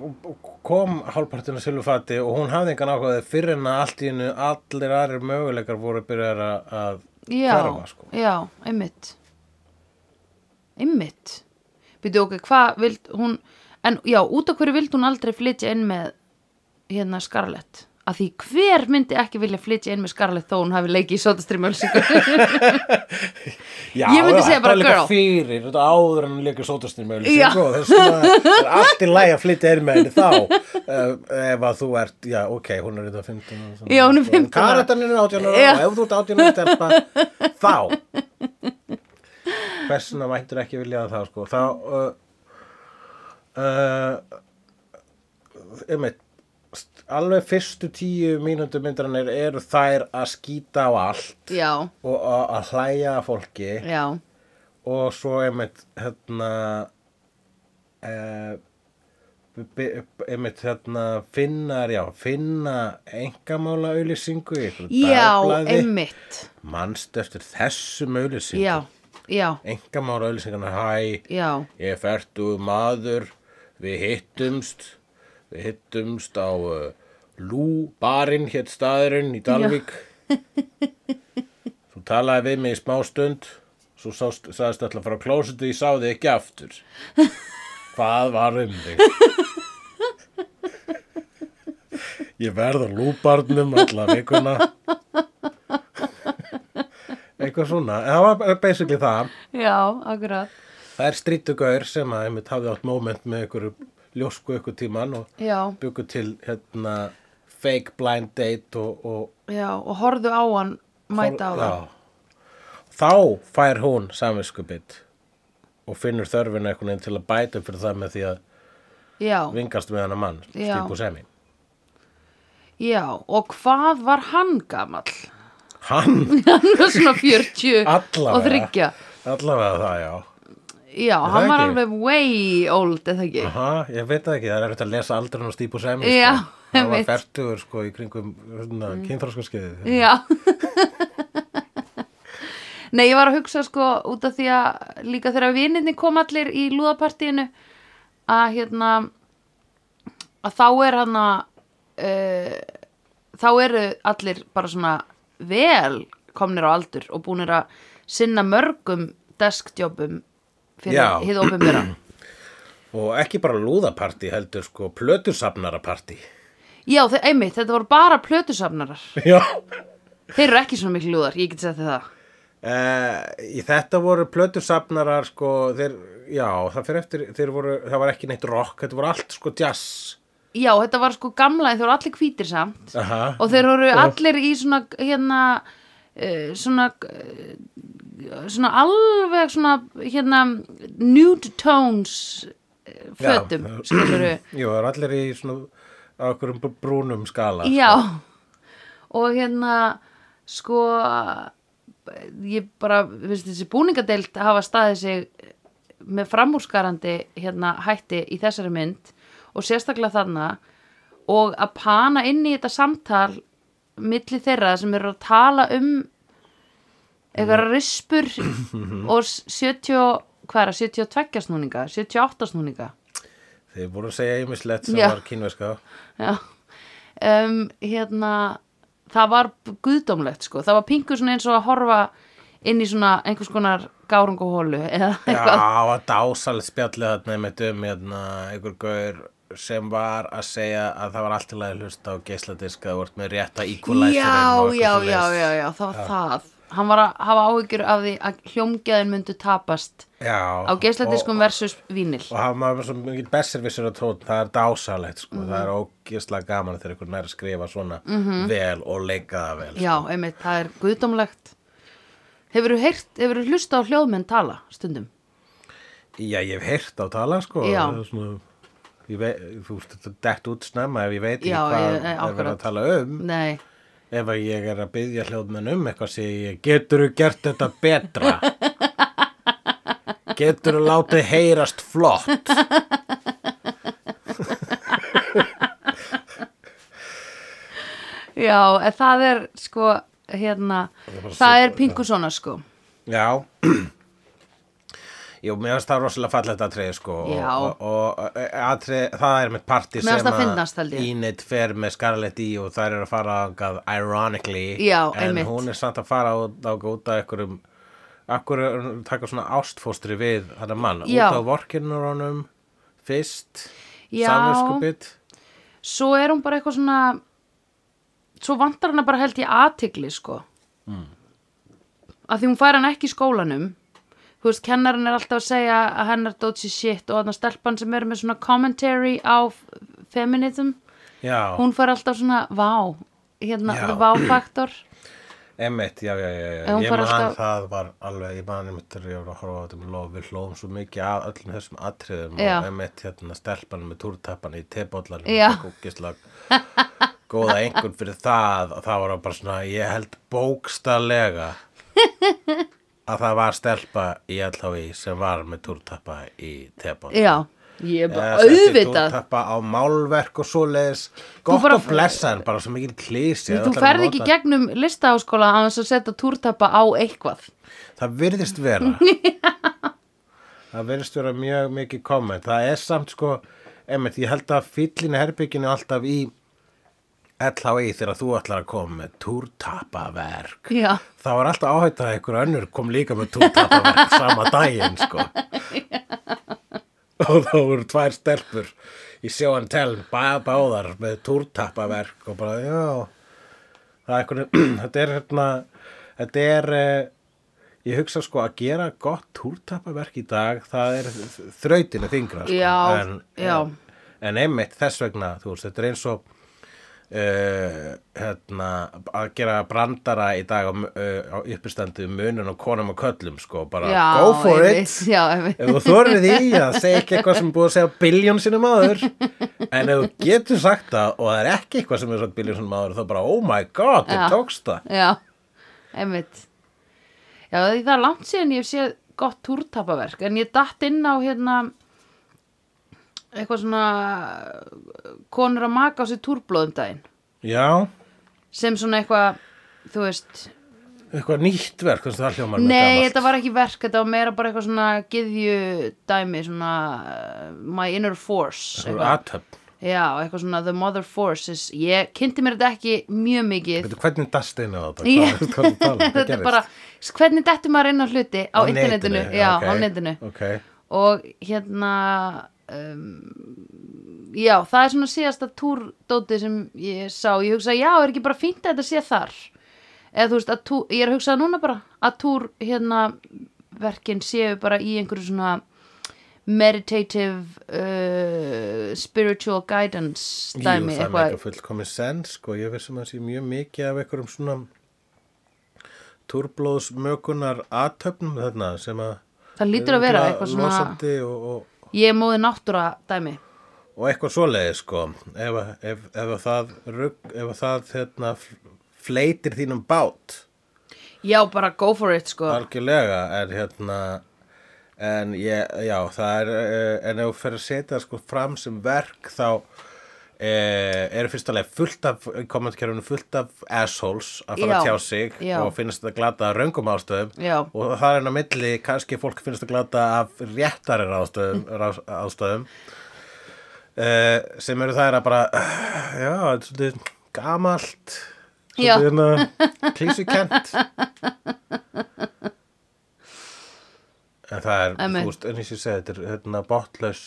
S2: kom hálfpartinu silfufati og hún hafði engan ákvæði fyrir en að allt í hennu allir aðrir möguleikar voru að byrja að
S1: já,
S2: hverfa sko.
S1: já, einmitt einmitt byrju ok, hvað vild hún en já, út af hverju vild hún aldrei flytja inn með hérna Scarlett að því hver myndi ekki vilja flytja inn með Scarlett þó hún hafi leikið í sotastrýmölsingu
S2: (laughs) Já,
S1: Ég myndi
S2: já,
S1: segja
S2: þetta
S1: bara
S2: var líka
S1: girl.
S2: fyrir, þetta áður en hún leikur sótastir með
S1: Já.
S2: og þess að það er allt í lægi að flytja er með henni þá uh, ef að þú ert, já ok, hún er þetta 15 ára
S1: Já, hún er 15 ára.
S2: Karatan er 18 ára
S1: Já.
S2: og ef þú ert 18 ára stelpa, þá Hversuna mættur ekki vilja það sko, þá uh, uh, einmitt st- alveg fyrstu tíu mínútu myndarinnar eru þær að skýta á allt
S1: já,
S2: og að- að hlæja að fólki
S1: já,
S2: og svo einmitt hérna eh, b- b- einmitt hérna finnar, já, finna engamála auðlýsingu í einhverju
S1: Já,
S2: dagblaði.
S1: einmitt
S2: manstu eftir þessum auðlýsingu
S1: Já, já,
S2: engamála auðlýsingarnar, hæ
S1: já
S2: ég færtu maður við hittumst við hittumst á uh, Lú barinn hétt staðurinn í Dalvík þú talaði við mig í smástund svo sást, sagðist alltaf frá klósetu ég sá þig ekki aftur hvað var um þig ég verð á lúbarnum alla vikuna eitthvað svona En það var bara basically það
S1: Já, akkurat
S2: Það er strítugaur sem að einmitt hafði átt moment með ykkur ljósku ykkur tíman og
S1: Já,
S2: byggu til hérna fake blind date og, og
S1: já, og horfðu á hann mæta á það
S2: Já. Þá fær hún samviskubit og finnur þörfina einhvern veginn til að bæta upp fyrir það með því að
S1: Já,
S2: vingast með hana mann,
S1: Já.
S2: stípu semi.
S1: já, og hvað var hann gamall?
S2: Hann,
S1: Hann var svona 40
S2: allavega.
S1: (laughs) og þryggja
S2: Allavega það, já.
S1: Já,
S2: Er
S1: hann
S2: það
S1: var
S2: ekki? Ah.
S1: alveg way old, eða ekki?
S2: Aha, ég veit það ekki, það er eftir að lesa aldrun og stípu semi.
S1: Já,
S2: sko. Það var
S1: einmitt. Mm.
S2: færtugur sko í kringum hérna, kynþróskaskeiðið.
S1: Já (laughs) Nei, ég var að hugsa sko út af því að líka þegar vininni kom allir í lúðapartíinu að hérna að þá er hann að uh, þá eru allir bara svona vel komnir á aldur og búnir að sinna mörgum deskjobbum fyrir
S2: Já.
S1: hið
S2: (clears throat)
S1: opinbera
S2: Og ekki bara lúðapartí heldur sko plötusafnarapartí.
S1: Já, þe- einmitt, þetta voru bara plötusafnarar
S2: Já.
S1: Þeir eru ekki svona miklu lúðar, ég get sett það
S2: Eh, í þetta voru plötusafnarar sko, þeir, já, það fyrir eftir, þeir voru, það var ekki neitt rock, þetta voru allt sko jazz.
S1: Já, þetta var sko gamla en þeir voru allir hvítir samt
S2: Aha.
S1: og þeir voru allir í svona hérna uh, svona uh, svona alveg svona hérna nude tones eh, fötum
S2: Já.
S1: skilur við
S2: Jú, það var allir í svona, á okkurum brúnum skala.
S1: já og hérna sko ég bara, veist þessi búningadeild hafa staðið sig með framúrskarandi hérna hætti í þessari mynd og sérstaklega þarna og að pana inn í þetta samtal milli þeirra sem eru að tala um eitthvað rispur og s- 70 og- hvað er það, 72 snúninga 78 snúninga
S2: Þeir voru að segja ymislegt sem
S1: Já.
S2: var kínverska.
S1: Já, um, hérna, það var guðdómlegt sko, það var pingu svona eins og að horfa inn í svona einhvers konar gárunguhólu eða
S2: Já,
S1: eitthvað.
S2: það var dásalegt spjallið þarna með döm, hérna, einhver gaur sem var að segja að það var allt í lagi að hlusta á geisladiska, þú vart með rétta equalizerinn og
S1: Já,
S2: eitthvað
S1: já,
S2: svoleiðis.
S1: já, já, já, það var það. Hann var að hafa áhyggjur af því að hljómgæðin myndu tapast
S2: Já,
S1: á geisladiskum
S2: og,
S1: versus vínil.
S2: og hann var svo mikið besservissur að tótt það er dásalegt sko, það er ógislega gaman þegar einhvern er að skrifa svona
S1: Mhm.
S2: vel og leika það vel
S1: Já, einmitt, það er guðdómlegt. Hefurðu heyrt, hefurðu hlusta á hljóðmenn tala stundum?
S2: Já, ég hef heyrt á tala sko
S1: Já.
S2: það er svona, ég veit, þú veist, þetta er dett út snemma ef ég veit ekki
S1: Já,
S2: hvað
S1: ég- eh,
S2: er verið
S1: akkurat.
S2: að tala um
S1: Nei,
S2: ef að ég er að byggja hljóðmenn um eitthvað sé ég, geturðu gert þetta
S1: (laughs)
S2: betra geturðu látið heyrast flott
S1: já, en það er sko, hérna, það
S2: bara svipað,
S1: er pingu svona sko.
S2: Já (clears throat) Jú, mér finnst það rosalega fallegt atrið sko
S1: Já.
S2: og, og, og atrið, það er mitt
S1: Mér
S2: partí sem
S1: fannst það fyndnast, held ég.
S2: Ínet fer með Scarlett í og þær eru að fara ángað ironically
S1: Já,
S2: en
S1: einmitt.
S2: hún er samt að fara ángað út af einhverjum akkur taka svona ástfóstri við þarna mann
S1: Já.
S2: út á vorkinnur honum fyrst
S1: Já.
S2: samvinskupið
S1: svo er hún bara eitthvað svona svo vantar hana bara held ég aðtigli sko mm. að því hún fær hann ekki í skólanum þú veist, kennarinn er alltaf að segja að hennar dótsi shit og þannig að stelpan sem er með svona commentary á f- feminism
S2: Já,
S1: hún fær alltaf svona vá hérna,
S2: Já.
S1: the wow factor
S2: Emmett, já, já, já, já.
S1: En hún
S2: ég
S1: fær
S2: man
S1: alltaf-
S2: það var alveg, ég man einmitt þegar ég var að horfa á þetta með lof, við hlóðum svo mikið að öllum þessum atriðum
S1: Já.
S2: og Emmett hérna stelpan með túrtappan í tebóllanum
S1: Já.
S2: og kúkislag góða einhvern fyrir það og það var bara svona, ég held bókstarlega að það var stelpa í LHV sem var með túrtappa í tebótt
S1: já, ég er bara
S2: Þú
S1: auðvitað
S2: tappa á málverk og svoleiðis Gott
S1: bara-
S2: og blessaðan, bara svo mikil klísi
S1: þú ferð ekki gegnum listaháskóla að þess að setja túrtappa á eitthvað
S2: Það virðist vera Það virðist vera mjög mikið komment Það er samt sko einmitt, Ég held að fyllinu herbygginu alltaf í LHI þegar þú ætlar að koma með túrtappaverk
S1: já,
S2: Það var alltaf áhætt að einhver önnur kom líka með túrtappaverk sama daginn sko og þá voru tvær stelpur í sjóan tel bá, báðar með túrtappaverk og bara já það er einhvern (clears throat) þetta er hérna þetta er eh, ég hugsa sko að gera gott túrtappaverk í dag það er þrautina þingra sko.
S1: Já,
S2: en,
S1: já.
S2: en einmitt þess vegna þú veist þetta er eins og Uh, hérna, að gera brandara í dag á, uh, á uppistandi munun og konum og köllum sko, bara
S1: já
S2: go for it
S1: einmitt, já, einmitt.
S2: Ef þú þorðið í að segja ekki eitthvað sem er búið að segja biljón sinum áður en ef þú getur sagt það og það er ekki eitthvað sem er sagt biljón sinum áður þá bara oh my god, þú
S1: Já.
S2: tókst það
S1: Já, einmitt Já, því það er langt síðan ég hef séð gott túrtapaverk en ég datt inn á hérna eitthvað svona uh, konur að maka á sér túrblóðum daginn
S2: Já,
S1: sem svona eitthvað, þú veist
S2: eitthvað nýtt verk þannig að það hljómar með
S1: Nei,
S2: gamalt.
S1: þetta var ekki verk, þetta var meira bara eitthvað svona gyðju dæmi, svona uh, my inner force
S2: Eitthvað
S1: eitthvað.
S2: athöfn.
S1: Já, eitthvað svona the mother force is, ég kynnti mér þetta ekki mjög mikið
S2: Veitu, hvernig dast inn á þetta?
S1: Já.
S2: Hvað, hvað, hvað, hvað, hvað
S1: (laughs) þetta er bara, hvernig dettur maður inn á hluti á, internetinu, já,
S2: ok,
S1: á netinu
S2: ok.
S1: og hérna um, já, það er svona síðasta túrdóti sem ég sá, ég hugsa, já, er ekki bara fínt að þetta sé þar eða þú veist, að túr, ég er að hugsa núna bara að túr, hérna verkin séu bara í einhverju svona meditative uh, spiritual guidance
S2: Jú,
S1: dæmi,
S2: það er með
S1: eitthvað,
S2: eitthvað fullkomis sens sko, ég vissum að það sé mjög mikið af einhverjum svona turblóðsmökunar aðtöfnum þarna sem að
S1: það lítur að vera
S2: örugglega
S1: eitthvað svona
S2: losandi og, og,
S1: ég er móði náttúra dæmi
S2: og eitthvað svoleiði sko ef, að- ef, ef að það, rugg, ef að það hérna, fl- fleitir þínum bát
S1: Já, bara go for it, sko.
S2: algjörlega en hérna en ég, já það er eh, en ef þú fer að setja það, sko fram sem verk þá e, eru fyrst alveg fullt af í kommentkerfinu fullt af assholes að fara að
S1: Já,
S2: tjá sig
S1: já.
S2: og finnst þetta glata af raungum ástöðum
S1: Já.
S2: og það er enn á milli kannski fólk finnst þetta glata af réttarir
S1: Mm.
S2: ástöðum, rás, ástöðum uh, sem eru þær að bara "Ah, já, þetta er svolítið gamalt
S1: Já.
S2: svolítið hérna klísukent en það er,
S1: Einmitt.
S2: þú veist, en ég sé segi þetta er hérna botlaus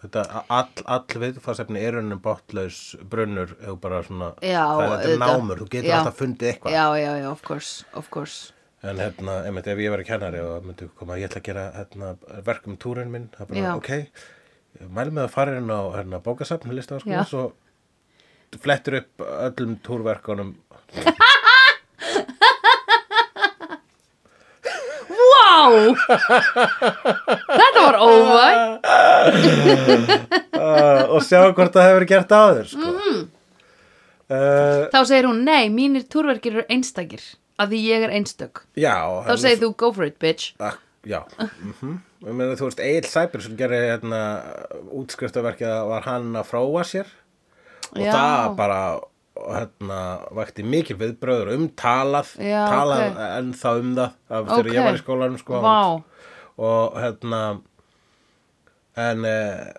S2: þetta, all, all viðfarsefni er ennum botlaus brunnur eða bara svona,
S1: Já,
S2: það er þetta er
S1: auðvitað.
S2: námur, þú getur
S1: Já.
S2: alltaf fundið eitthvað
S1: Já, já, já, of course, of course.
S2: En hérna, einmitt, ef ég verið kennari og myndi koma, ég ætla að gera hérna, verk um túrin minn, það er bara,
S1: Já.
S2: ok, ég mæli með að fara inn á hérna, bókasafn, lista sko,
S1: Já.
S2: svo þú flettir upp öllum túrverkunum. (laughs)
S1: Vá! Þetta var óvæg.
S2: Uh, og sjá hvort það hefur verið gert áður, sko. Eh, Mm
S1: Mhm.
S2: -hmm.
S1: Þá segir hún, nei, mínir túrverkir eru einstakir, að því ég er einstök.
S2: já. hérna,
S1: Þá segir þú, go for it, bitch.
S2: Ah, já, mhm. Ég meina, þú veist, Egil Sæbjörn sem gerir hérna, útskriftaverkið var hann að fróa sér og
S1: Já.
S2: það bara hérna, vakti mikil viðbröður umtalað,
S1: Já,
S2: talað
S1: ok.
S2: ennþá um það af þegar
S1: Ok.
S2: ég var í skólanum sko,
S1: Vá.
S2: og hérna en eh,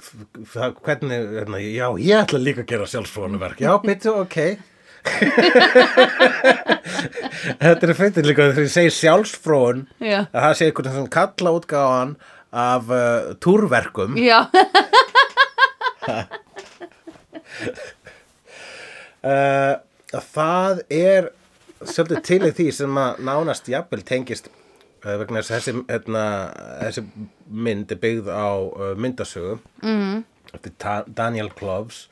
S2: f- það, hvernig, hérna, já, ég ætla líka að gera sjálfsfrónuverk, já, byrju, ok (laughs) Þetta er fyrir líka þegar ég segi sjálfsfrón
S1: Já.
S2: að það sé einhvern veginn kalla útgáðan af uh, túrverkum
S1: Já,
S2: uh, það er svolítið til í því sem að nánast jafnvel tengist uh, vegna þess að þessi, hérna, þessi mynd er byggð á uh, myndasögu mm -hmm. eftir Ta- Daniel Kloves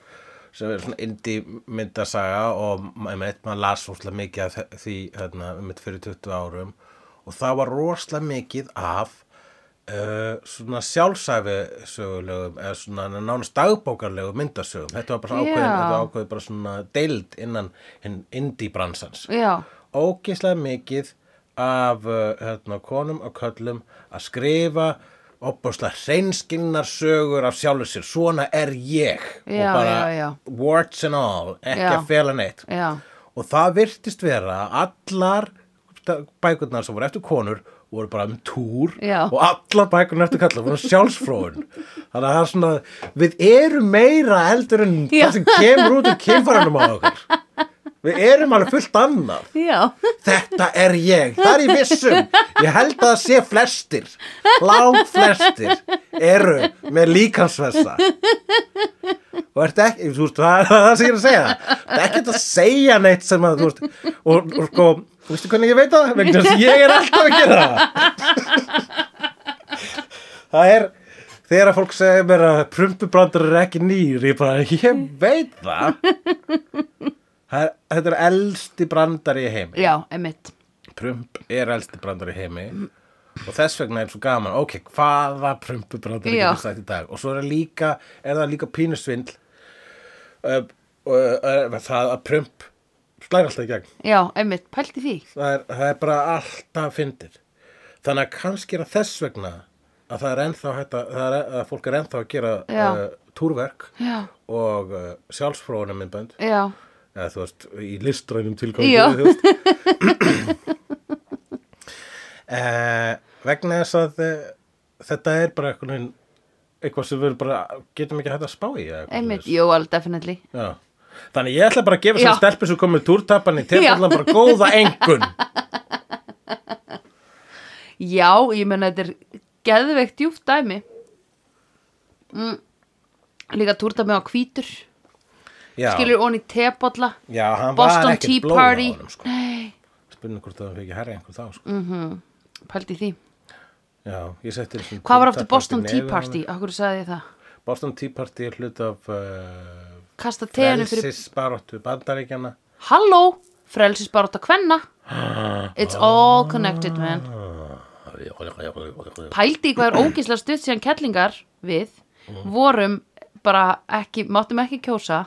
S2: sem er svona indie myndasaga og einmitt, maður las rosalega mikið af þe- því hérna, einmitt fyrir 20 árum og það var rosalega mikið af Uh, svona sjálfsæfi sögulegum eða svona nánast dagbókarlegum myndasögum þetta var bara svona ákveðin,
S1: Já.
S2: þetta var ákveðið bara svona deild innan hinn indie bransans
S1: já,
S2: ógislega mikið af uh, hérna, konum og köllum að skrifa opbúslega hreinskilnar sögur af sjálfur sér, svona er ég og
S1: Já, já,
S2: bara
S1: já.
S2: words and all, ekki
S1: Já.
S2: að fela neitt
S1: já,
S2: og það virtist vera að allar sta- bækurnar sem voru eftir konur voru bara um túr
S1: Já.
S2: og allar bækurnar eftir kallar voru sjálfsfróðun þannig að það er svona, við erum meira eldur en
S1: Já.
S2: það sem kemur út úr kynfæranum á okkur við erum alveg fullt annað
S1: já,
S2: þetta er ég, það er ég vissum ég held að það sé flestir lang flestir eru með líkansvessa og ert ekki þú veist, það er það sem ég er að segja það er ekkert að segja neitt sem að þú veist, og, og sko, þú veistu hvernig ég veit það vegna þess að ég er alltaf að gera það það er þegar að fólk segir mér að prumpubrandur er ekki nýr ég bara, ég veit það Það er, þetta er elsti brandari í heimi
S1: já, emitt
S2: Prump er elsti brandar í heimi og þess vegna er svo gaman ok, hvaða prumpubrandar
S1: Já.
S2: getur sagt í dag og svo er, líka, er það líka pínusvindl uh, uh, uh, það að prump slæri alltaf í gegn
S1: Já, einmitt, pælti því
S2: það er, það er bara alltaf fyndir þannig að kannski er það þess vegna að það er ennþá hægt að, það er, að fólk er ennþá að gera
S1: Já.
S2: uh, túrverk
S1: Já,
S2: og uh, sjálfsfróðunum myndbönd
S1: já,
S2: eða þú veist, í listrænum tilgangi
S1: Já.
S2: þú veist (clears throat) eh, vegna þess að eh, þetta er bara einhvern veginn eitthvað sem við bara getum ekki hægt að spá í eða eitthvað
S1: einmitt,
S2: svoleiðis.
S1: jú, alveg, definitely
S2: Já. þannig ég ætla bara að gefa
S1: Já.
S2: sér stelpi sem komið túrtappan í tefnallan bara góða
S1: (laughs)
S2: engun
S1: Já, ég menna þetta er geðveikt djúft dæmi mm. Líka túrta með á hvítur
S2: já,
S1: Skilur onni tebolla
S2: já, hann var
S1: Boston
S2: ekkert
S1: Tea
S2: blóð á
S1: Party Mm.
S2: honum sko.
S1: Nei,
S2: spurning hvort það fyrir herra einhver þá sko.
S1: pælti því
S2: já, ég setti einu sinni
S1: Hvað var
S2: túrtappann
S1: aftur
S2: upp í
S1: Boston
S2: nefið
S1: Tea
S2: á
S1: Party?
S2: honum.
S1: Akkur sagði ég það
S2: Boston Tea Party er hlut af uh,
S1: Kasta teinu fyrir
S2: frelsisbaróttu bandaríkjana
S1: Halló, frelsisbaróta kvenna It's all connected, man Pældi í hvað er ógislega stutt síðan kellingar við
S2: Mhm.
S1: vorum bara ekki, máttum ekki kjósa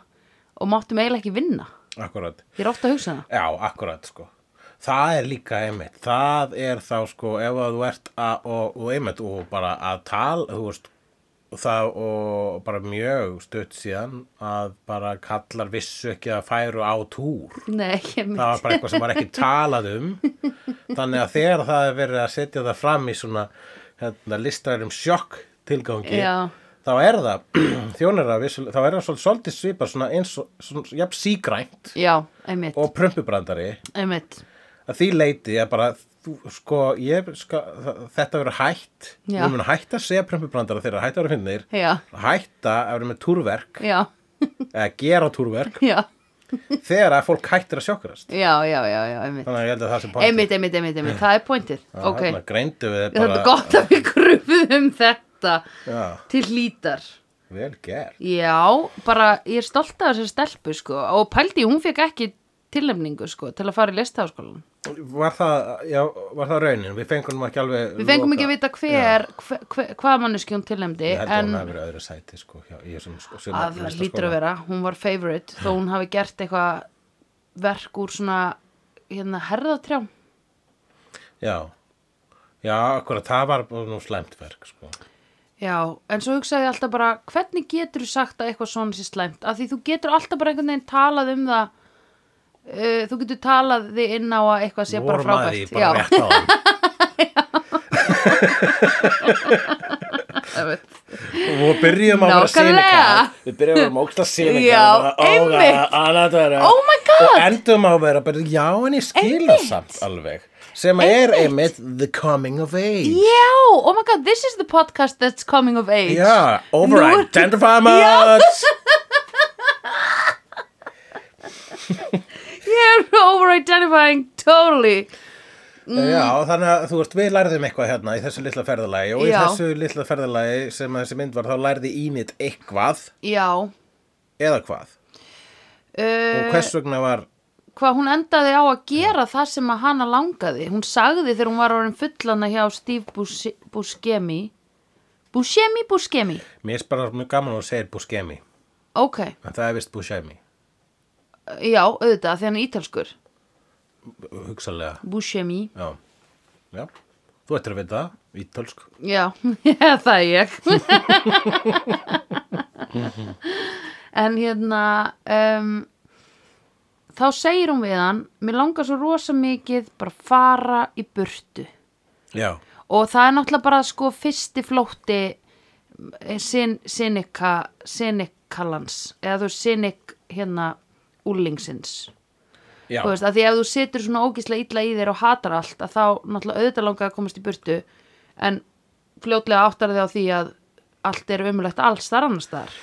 S1: og máttum eiginlega ekki vinna
S2: Akkurat,
S1: Ég er ofta að hugsa það
S2: já, akkurat sko Það er líka einmitt, það er þá sko ef að þú ert að, og, og einmitt og bara að tala, þú veist og það og bara mjög stutt síðan að bara kallar vissu ekki að færu á túr
S1: Nei, ég
S2: það var bara eitthvað sem var ekki talað um þannig að þegar það er verið að setja það fram í svona hérna, listrærum sjokk tilgangi
S1: Já.
S2: þá er það (clears throat) þjónir að vissu, þá er það svolítið- svolítið svipað svona eins og svona, jafn sígrænt
S1: Já, einmitt,
S2: og prumpubrandari
S1: einmitt
S2: að því leiti að bara þú, sko, ég, sko, þa- þetta verður hætt
S1: Já.
S2: við munum hætta að segja prumpubrandara þegar hætta að vera finnir
S1: Já,
S2: hætta að vera með túrverk
S1: já,
S2: eða gera túrverk
S1: já,
S2: þegar að fólk hættir að sjokkrast
S1: já, já, já, já einmitt
S2: þannig að ég held að það sem
S1: Einmitt, einmitt, einmitt, einmitt, það er pointið Ok,
S2: Þarna greindu við
S1: þetta
S2: bara
S1: er gott að við grufum þetta
S2: Já,
S1: til hlítar
S2: vel gert.
S1: Já, bara ég er stolt af þessari stelpu sko og pældi, hún fekk ekki tilnefningu sko til að fara í listaháskólan
S2: Var það, já, var það raunin? Við fengum ekki alveg...
S1: Við fengum
S2: loka-
S1: ekki að vita hver, hver, hver hvað manneski hún tilnefndi
S2: Ég held að
S1: en
S2: hún hafi verið öðru sæti, sko. Já, ég sem, sko, sem
S1: að það lítur að vera, hún var favorite þó hún hafi gert eitthvað verk úr svona hérna herðatrjám
S2: Já, já, akkurat, það var bara nú slæmt verk, sko.
S1: Já, en svo hugsaði ég alltaf bara hvernig getur þú sagt að eitthvað svona sé slæmt af því þú getur alltaf bara einhvern veginn talað um það uh, þú getur talað þig inn á að eitthvað sé bara
S2: Vorum að því
S1: frábært Já,
S2: bara rétt á
S1: (laughs)
S2: hann.
S1: einmitt.
S2: Og byrjum að vera
S1: Nákvæmlega.
S2: sínikal. Við byrjum að vera móksla sínikal.
S1: Já, einmitt. Oh my god.
S2: Og endum á að vera bara, já, en ég skila samt alveg. Sem er einmitt the coming of age.
S1: Já, oh my god, this is the podcast that's coming of age
S2: Já,
S1: Nú-
S2: over-identify much.
S1: Ég er over-identifying totally
S2: Já, þannig að þú veist, við lærðum eitthvað hérna í þessu litla ferðalagi og í
S1: Já.
S2: þessu litla ferðalagi sem að þessi mynd var þá lærði Ímit eitthvað
S1: Já,
S2: eða hvað og
S1: uh,
S2: hvers vegna var,
S1: hvað hún endaði á að gera það sem að hana langaði hún sagði þegar hún var orðin fullana hjá Steve Busce- Buscemi Buscemi, Buscemi
S2: mér er bara mjög gaman að hún segir Buscemi,
S1: ok,
S2: en það er vist Buscemi,
S1: já, auðvitað, því hann er ítalskur
S2: hugsalega,
S1: Buscemi
S2: já. já, þú ættir að vita það ítölsk,
S1: Já, (laughs) það er ég. (laughs) en hérna, um, þá segir hún við hann, mér langar svo rosa mikið bara að fara í burtu.
S2: já,
S1: Og það er náttúrulega bara sko fyrsti flótti eh, sin, sinika, sinikalans, eða þú veist, sinik hérna úlingsins.
S2: já
S1: Þú veist, að því ef þú situr svona ógíslega illa í þér og hatar allt að þá náttúrulega auðvitað langar að komast í burtu en fljótlega áttar þig á því að allt er umulegt alls þar annars þar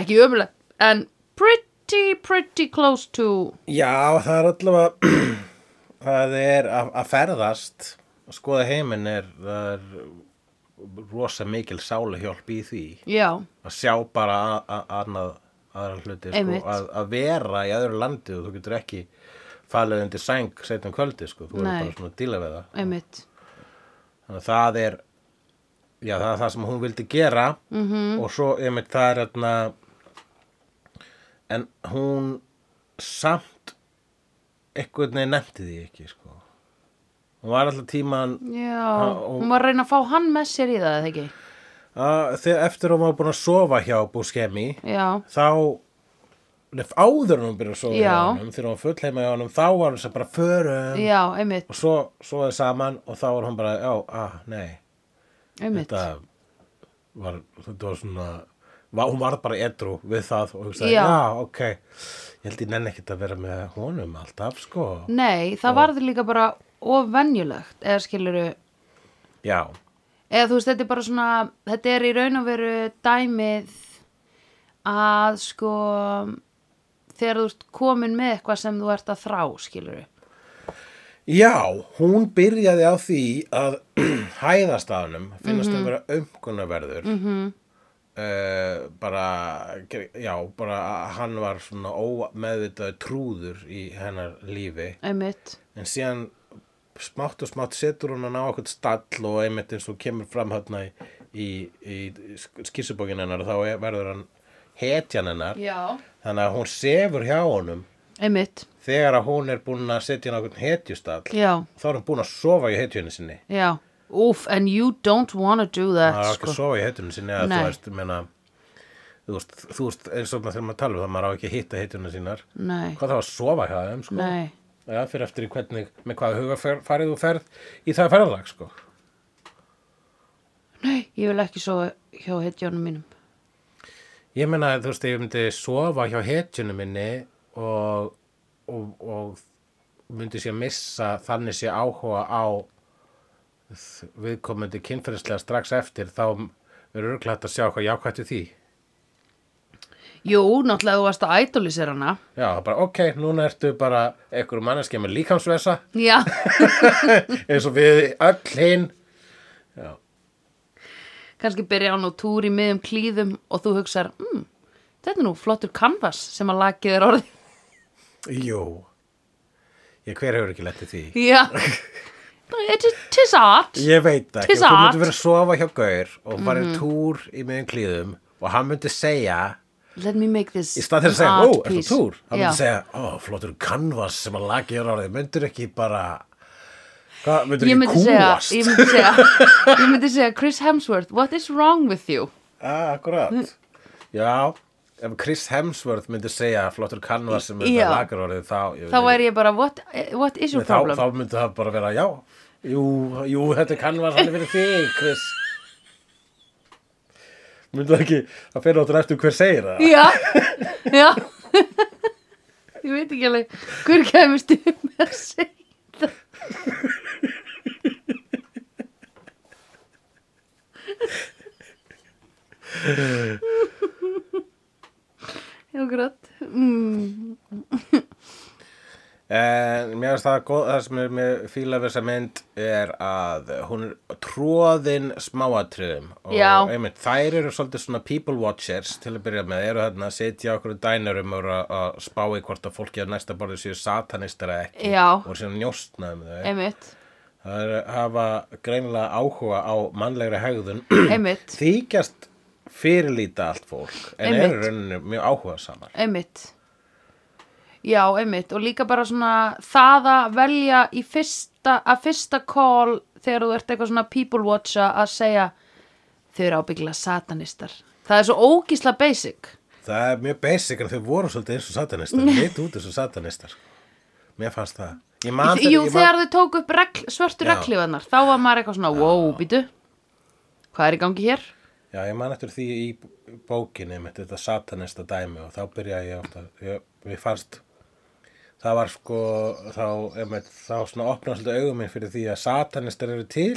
S1: ekki umulegt, en pretty, pretty close to
S2: Já, það er allavega (clears throat) það er að, að ferðast að skoða heiminn er það er rosa mikil sála hjálp í því
S1: já,
S2: að sjá bara a- a- annað aðra hluti, sko,
S1: Einmitt.
S2: að, að vera í öðru landi og þú getur ekki falið undir sæng setjum kvöldi, sko, þú
S1: Nei.
S2: er bara svona að díla við það
S1: einmitt
S2: þannig að það er já, það er það sem hún vildi gera
S1: Mhm.
S2: -hmm. og svo, ég meitt, það er hérna, en hún samt einhvern veginn nefndi því ekki, sko hún var alltaf tíman
S1: já,
S2: og-
S1: hún var að reyna að fá hann með sér í það eða ekki,
S2: að, þegar eftir að hún var búin að sofa hjá Búskemi
S1: já
S2: þá nef, áður en hún byrja að sofa hjá
S1: Já.
S2: honum þegar hún var full heima hjá honum, þá var hún sem bara förum
S1: já, einmitt,
S2: og svo sofaði saman og þá var hún bara, já, ah, nei
S1: einmitt
S2: þetta var, þetta var svona var, hún var bara edru við það og hugsaði,
S1: Já.
S2: já. ok ég held ég nenni ekkert að vera með honum alltaf, sko
S1: nei, það varði líka bara of venjulegt, eða skiluru
S2: já,
S1: eða þú veist, þetta er bara svona þetta er í raun og veru dæmið að sko þegar þú ert komin með eitthvað sem þú ert að þrá, skilur við
S2: já, hún byrjaði á því að (clears throat) hæðast að honum finnast
S1: Mhm.
S2: mm að vera umkunnaverður mm -hmm. bara já, bara að hann var svona ómeðvitaði trúður í hennar lífi
S1: einmitt,
S2: en síðan smátt og smátt setur hún hann á okkur stall og einmitt eins og kemur fram hérna í, í, í skissubókin hennar þá er- verður hann hetjan hennar
S1: já,
S2: þannig að hún sefur hjá honum
S1: einmitt
S2: þegar að hún er búin að setja hann á okkur hetjustall
S1: já,
S2: þá er hún búin að sofa í hetjunni sinni
S1: já, úf and you don't wanna do that
S2: það er ekki
S1: sko.
S2: að sofa í hetjunni sinni að þú
S1: Nei.
S2: veist, menna, þú veist, þú veist eins og þegar maður tala um það maður á ekki að hitta hetjunni sínar
S1: nei,
S2: hvað þá að sofa hjá þeim sko?
S1: nei,
S2: Já, fyrir eftir í hvernig, með hvaða hugafarið þú ferð í það ferðalag sko.
S1: nei ég vil ekki svo hjá heitjónum mínum
S2: Ég meina, þú veist, ég myndi sofa hjá hetjunum minni og, og, og myndi sé missa þannig sé áhuga á þ- viðkomandi kynferðislega strax eftir, þá er örglætt að sjá hvað jákvætt við því.
S1: jú, náttúrulega þú varst að ædólisera hana
S2: Já, það er bara, ok, núna ertu bara einhverjum manneskja með líkamsvesa (laughs)
S1: já,
S2: eins og við öll hinn. Já,
S1: (laughs) kannski byrja hann á túr í miðum klíðum og þú hugsar, mm, þetta er nú flottur canvas sem að lakið er orðið
S2: jú. Ég hver hefur ekki lettið því.
S1: Já It is tis art
S2: Ég veit það ekki,
S1: Tis
S2: þú
S1: art.
S2: myndir verið að sofa hjá Gaur og fara í túr í miðum klíðum og hann myndi segja
S1: Let me make this
S2: í stað þess að segja, ó,
S1: an art
S2: er það
S1: piece."
S2: túr? Hann
S1: Ah, Já,
S2: myndi segja, ó, flottur kanvas sem að lagi er árið, myndir ekki bara hvað, myndir
S1: ég
S2: ekki
S1: myndi segja,
S2: kúast?
S1: ég myndi segja
S2: (laughs)
S1: Ég myndi segja, Chris Hemsworth What is wrong with you?
S2: Ah,
S1: Mm.
S2: akkurat Já, ef Chris Hemsworth myndi segja flottur kanvas sem
S1: Já.
S2: þetta lagi er árið þá, ég veit
S1: Þá
S2: ekki.
S1: væri ég bara, what, what is your
S2: þá,
S1: problem?
S2: þá myndi það bara vera, já Jú, jú, þetta kann var hann er fyrir þig, Chris Myndi það ekki að fyrir áttur eftir hver segir það
S1: Já, já (laughs) Ég veit ekki alveg Hver kæmist upp með að segja það Já, grátt mm,
S2: En mér finnst það góð, það sem er mér fíla við þessa mynd er að hún er tróðin smáatriðum og
S1: Já.
S2: einmitt, þær eru svolítið svona people watchers til að byrja með, eru þarna að sitja okkur dænurum og eru að- að spá í hvort að fólki á næsta borðið séu satanistar eða ekki
S1: Já.
S2: og séu njóstnaðum þau.
S1: Einmitt,
S2: Það er, hafa greinilega áhuga á mannlegri hegðun
S1: einmitt,
S2: þykjast fyrirlíta allt fólk en
S1: Einmitt.
S2: eru rauninu mjög áhuga samar
S1: einmitt Já, einmitt, og líka bara svona það að velja í fyrsta, að fyrsta call þegar þú ert eitthvað svona people watcha að segja þau eru ábyggilega satanistar. Það er svo ógísla basic.
S2: Það er mjög basic en þau voru svolítið eins og satanistar, leitt út eins og satanistar. sko. Mér fannst það. Ég man þegar,
S1: Jú,
S2: ég man,
S1: þegar þau tóku upp regl, svörtu
S2: Já.
S1: reglífanar, þá var maður eitthvað svona, wow, býtu, hvað er í gangi hér?
S2: já, ég man eftir því í bókinni með þetta satanista dæmi og þá byrjaði ég átt að, ég, ég fannst, það var sko, þá, einmitt, þá svona opnaði svolítið augum minn fyrir því að satanistar eru til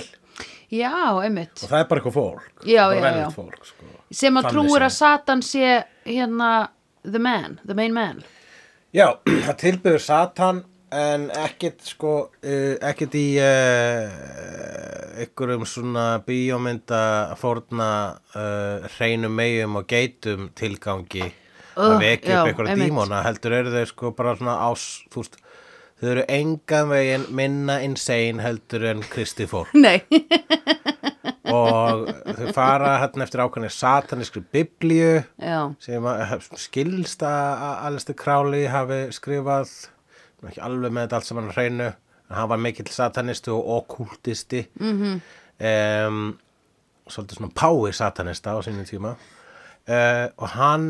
S1: Já, einmitt,
S2: og það er bara eitthvað fólk.
S1: Já,
S2: Bara
S1: já,
S2: venjulegt
S1: já.
S2: Fólk, sko.
S1: sem að
S2: Þannig
S1: trúir
S2: sem-
S1: að Satan sé hérna the man, the main man.
S2: Já, (clears throat) það tilbyður Satan en ekkit sko uh, ekkit í uh, einhverjum svona bíómynda fórna uh, hreinum meyjum og geitum tilgangi að
S1: Ugh,
S2: vekja
S1: já,
S2: upp einhverja
S1: einmitt.
S2: dímona heldur eru þau sko bara svona ás þú veist, þau eru engan veginn minna insane heldur en kristið fólk
S1: Nei,
S2: og þau fara hérna eftir ákveðni satanískri biblíu
S1: (laughs) já,
S2: sem að- skilst að Alistair Crowley hafi skrifað nú ekki alveg með þetta allt saman á hreinu en hann var mikill satanisti og okkultisti mm
S1: Mhm.
S2: -hmm. svolítið svona pái satanista á sínum tíma uh, og hann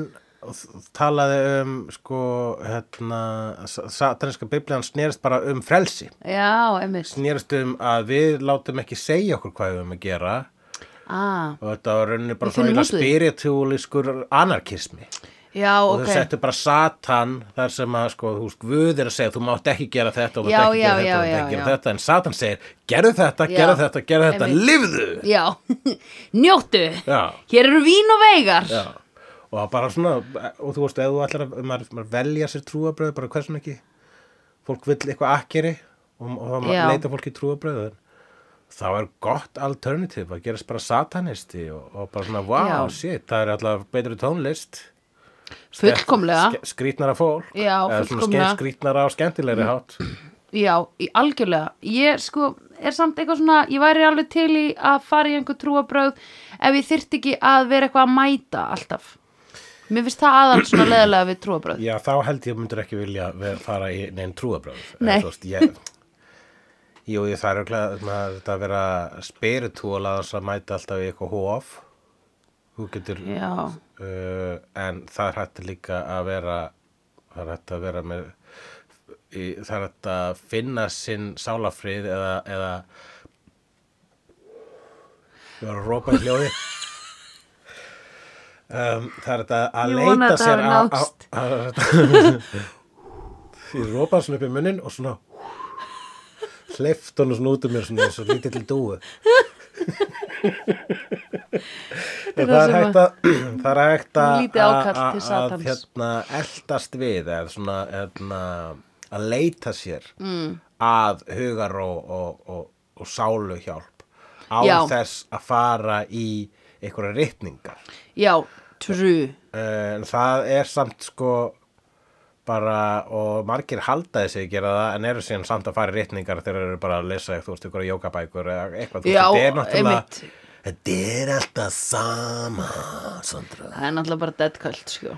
S2: talaði um sko hérna, sa- sataniska biblíu hann snerist bara um frelsi
S1: já, einmitt,
S2: snerist um að við látum ekki segja okkur hvað við um að gera
S1: ah,
S2: og þetta var rauninni bara
S1: Við finnum
S2: svona
S1: út úr því.
S2: spiritúliskur anarkismi
S1: já,
S2: og
S1: ok.
S2: þau settu bara satan þar sem að sko, þú veist, Guð er að segja þú mátt ekki gera þetta og þú
S1: Já,
S2: mátt
S1: já,
S2: ekki gera
S1: já,
S2: þetta og þú mátt
S1: já,
S2: ekki gera
S1: já.
S2: þetta en satan segir, gerðu þetta,
S1: Já,
S2: gerðu þetta, gerðu þetta
S1: einmitt.
S2: lifðu
S1: Já, (laughs) njóttu
S2: Já.
S1: Hér eru vín og veigar
S2: já. og það bara svona og þú veist, ef þú ætlar að maður, maður velja sér trúabröð, bara hversum ekki fólk vill eitthvað akkeri og, og það
S1: Já.
S2: leita fólk í trúabröð þá er gott alternative að gerast bara satanisti og, og bara svona, wow,
S1: Já.
S2: shit, það er alltaf betri tónlist
S1: Fullkomlega,
S2: Ske- skrýtnara fólk
S1: Já,
S2: Eða svona
S1: fullkomlega.
S2: ske- skrýtnara og skemmtilegri hátt
S1: já, í algjörlega Ég sko, er samt eitthvað svona Ég væri alveg til í að fara í einhver trúabröð Ef ég þyrfti ekki að vera eitthvað að mæta alltaf Mér finnst það aðal
S2: (clears throat)
S1: svona leðilega við trúabröð
S2: já þá held ég myndur ekki vilja ver- fara í neinn trúabröð
S1: Nei.
S2: ég, jú ég það er örugglega- maður- þetta að vera spiritúal að þess að mæta alltaf í eitthvað hof þú getur
S1: Já,
S2: uh, en það er hægt líka að vera það er hægt að vera með í, það er hægt að finna sinn sálafrið eða, eða ég var að rópa í hljóði um, það er hægt að, að
S1: Ég vona
S2: leita
S1: að það
S2: sér
S1: hafi
S2: að- að-
S1: náðst.
S2: að- það er hægt að- (laughs) ég rópaði svona upp í munnin og svona hleyft honum svona út um mér svona eins og lítið til dúu
S1: er
S2: það
S1: það
S2: er
S1: sem
S2: hægt að (clears throat) það er hægt að
S1: Lítið ákall
S2: að-
S1: til
S2: að-
S1: Satans.
S2: að hérna eldast við eða svona hérna, að leita sér mm. að hugar og, og, og, og sálu hjálp á
S1: Já.
S2: þess að fara í einhverja ritningar
S1: já, true
S2: Eh, en það er samt sko bara og margir haldaði sig gera það en eru síðan samt að fara í ritningar þegar þeir eru bara að lesa þú veist, ykkur jókabækur eða eitthvað þú veist,
S1: Já,
S2: þetta er
S1: einmitt.
S2: náttúrulega þetta er alltaf sama Sandra
S1: Það er náttúrulega bara dead cult, sko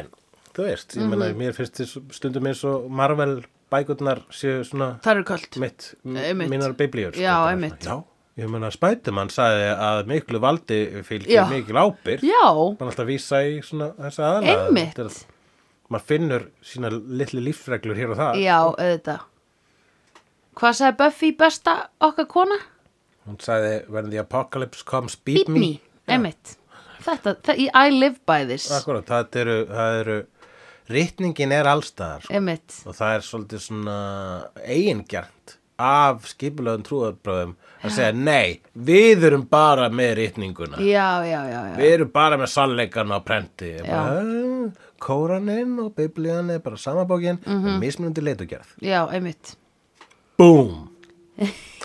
S2: en þú veist, ég meina,
S1: Mhm.
S2: mér finnst þess stundum eins og Marvel bækurnar séu svona
S1: Það eru cult
S2: mitt,
S1: Einmitt.
S2: einmitt. mínar biblíur sko,
S1: Já,
S2: bara
S1: einmitt.
S2: svona, já, ég meina, Spætumann sagði að miklu valdi fylgir
S1: Já.
S2: mikil ábyrg
S1: Já,
S2: mann alltaf vísa í svona þess aðalega
S1: Einmitt.
S2: Þetta er- maður finnur sína litlu lífsreglur hér og það
S1: já, auðvitað Hvað sagði Buffy besta okkar kona?
S2: hún sagði when the apocalypse comes beat,
S1: Beat me, emitt Þetta, það, I live by this
S2: Akkurat, það eru, það eru ritningin er allstaðar sko.
S1: Emitt,
S2: og það er svolítið svona eigingjart af skipulöðum trúðabröðum að segja nei, við erum bara með ritninguna
S1: já, já, já, já
S2: Við erum bara með sannleikana á prenti. Ég
S1: Já.
S2: bara, "Eh, Kóraninn og biblían er bara sama bókin, mm
S1: Mhm.
S2: -hmm. mismunandi leitugjörð.
S1: Já, emitt,
S2: Búm!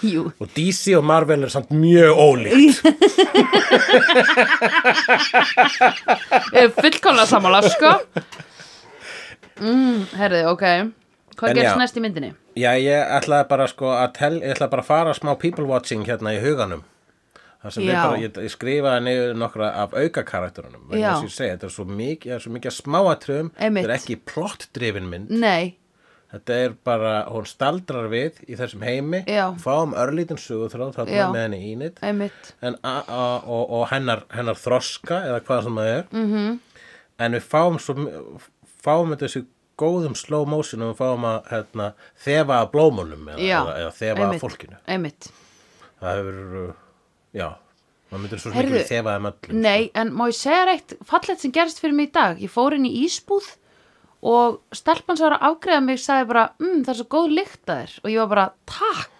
S1: jú
S2: Og DC og Marvel er samt mjög ólíkt.
S1: (laughs) Eh, Fullkomlega sammála, sko mm, Herði, ok Hvað
S2: En
S1: gerst
S2: já.
S1: næst í myndinni?
S2: Já, ég ætlaði bara sko að tel, ég ætlaði bara að fara smá people watching hérna í huganum. það sem ég
S1: Já.
S2: bara, ég, ég skrifaði niður nokkra af auka karakterunum
S1: Já.
S2: vegna þess að ég segi, þetta er svo mikið, það er svo mikið smáatröfum,
S1: Einmitt. Mm.
S2: þetta er ekki plottdrifin mynd,
S1: Nei,
S2: þetta er bara, hún staldrar við í þessum heimi,
S1: Já.
S2: fáum örlítinn sögutráð, þarna
S1: Já.
S2: með henni ínit,
S1: einmitt
S2: en, a, a, og, og hennar, hennar þroska eða hvað sem það er mm
S1: Mhm.
S2: -hmm. en við fáum svo m- fáum þetta þessi góðum slow motion og við fáum að hérna, þefa að blómunum eða,
S1: Já,
S2: eða, eða þefa að
S1: einmitt.
S2: fólkinu
S1: Einmitt
S2: það hefur, uh, já maður myndir svo
S1: Heyrðu,
S2: mikið þefa að möllum
S1: Nei, en má ég segja reitt fallet sem gerst fyrir mig í dag Ég fór inn í Ísbúð og stelpan sem var að afgreða mig sagði bara, mm, það er svo góð lykt að þér og ég var bara, takk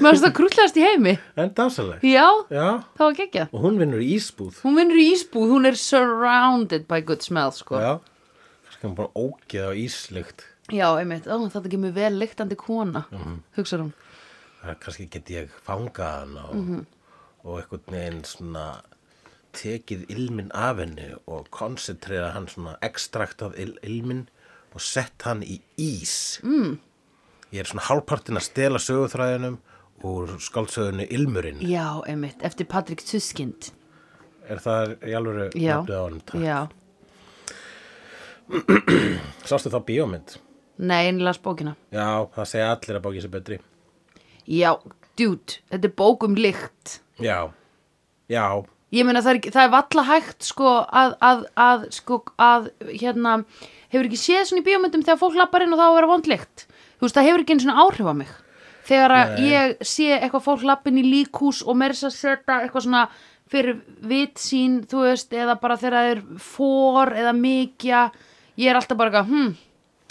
S1: Mér varst það krúllast í heimi
S2: en dásaleg,
S1: Já,
S2: já
S1: það var geggjað
S2: og hún vinnur í ísbúð
S1: Hún vinnur í Ísbúð, hún er surrounded by good smell, sko Já,
S2: já, kannski hann bara ógeð á íslugt
S1: einmitt, ó, þetta kemur vel lyktandi kona mm
S2: Mhm.
S1: hugsar hún
S2: Það kannski get ég fangað hann og,
S1: Mhm.
S2: og einhvern veginn svona tekið ilmin af henni og koncentrera hann svona ekstraktað il ilmin og sett hann í ís. Mm. Ég er svona hálfpartin að stela sögutræðinum úr skáldsögunni Ilmurinn.
S1: Já, einmitt, eftir Patrik Tuskind
S2: Er það í alvöru
S1: Já,
S2: nafnið á honum? takk?
S1: já
S2: Sástu þá bíómynd?
S1: Nei, einlega spókina
S2: Já, það segja allir að bókið sé betri.
S1: Já, dude, þetta er bók um lykt
S2: Já, já,
S1: Ég meina það er, það er valla hægt sko að, að, að, sko, að hérna, hefur ekki séð svona í bíómyndum þegar fólk lappar inn og þá að vera vondlegt. Þú veist, það hefur ekki einu svona áhrif á mig. Þegar að
S2: Nei.
S1: ég sé eitthvað fólk lappin í líkús og meira þess að setja eitthvað svona fyrir vit sín, þú veist, eða bara þegar það er fór eða mikja, ég er alltaf bara eitthvað, hm,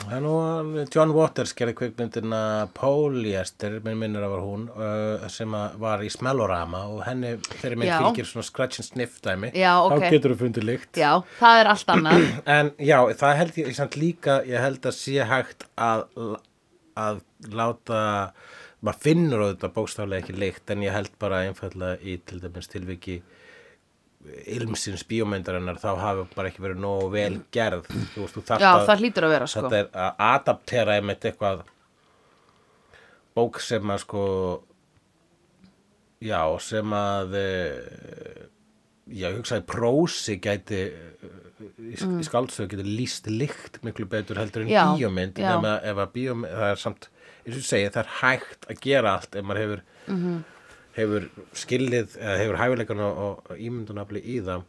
S2: Það er nú alveg- John Waters gerði kvikmyndina Polyester, minn minnir að var hún, uh, sem að var í Smellorama og henni, þeirri minn
S1: Já.
S2: fylgir svona scratch and sniff dæmi.
S1: Já, ok.
S2: Þá getur þú fundið lykt.
S1: já, það er allt annað.
S2: (clears throat) En já, það held ég, ég samt líka, ég held að sé hægt að, að láta, maður finnur auðvitað bókstaflega ekki lykt, en ég held bara einfallega í til dæmis tilviki ilmsins bíómyndarinnar, þá hafi bara ekki verið nógu vel gerð. Þú veist, þú þarft
S1: já,
S2: að-
S1: það hlýtur að vera sko.
S2: þetta er að adaptera einmitt eitthvað bók sem að sko já, sem að e, já, ég hugsaði prósi gæti e, í mm. skáldsöðu getur líst líkt miklu betur heldur en
S1: Já,
S2: bíómynd
S1: já.
S2: nema ef að bíómynd, það er samt eins og ég segi, það er hægt að gera allt ef maður hefur
S1: Mhm.
S2: hefur skilið, eða hefur hæfileikan og, og ímyndunafli í það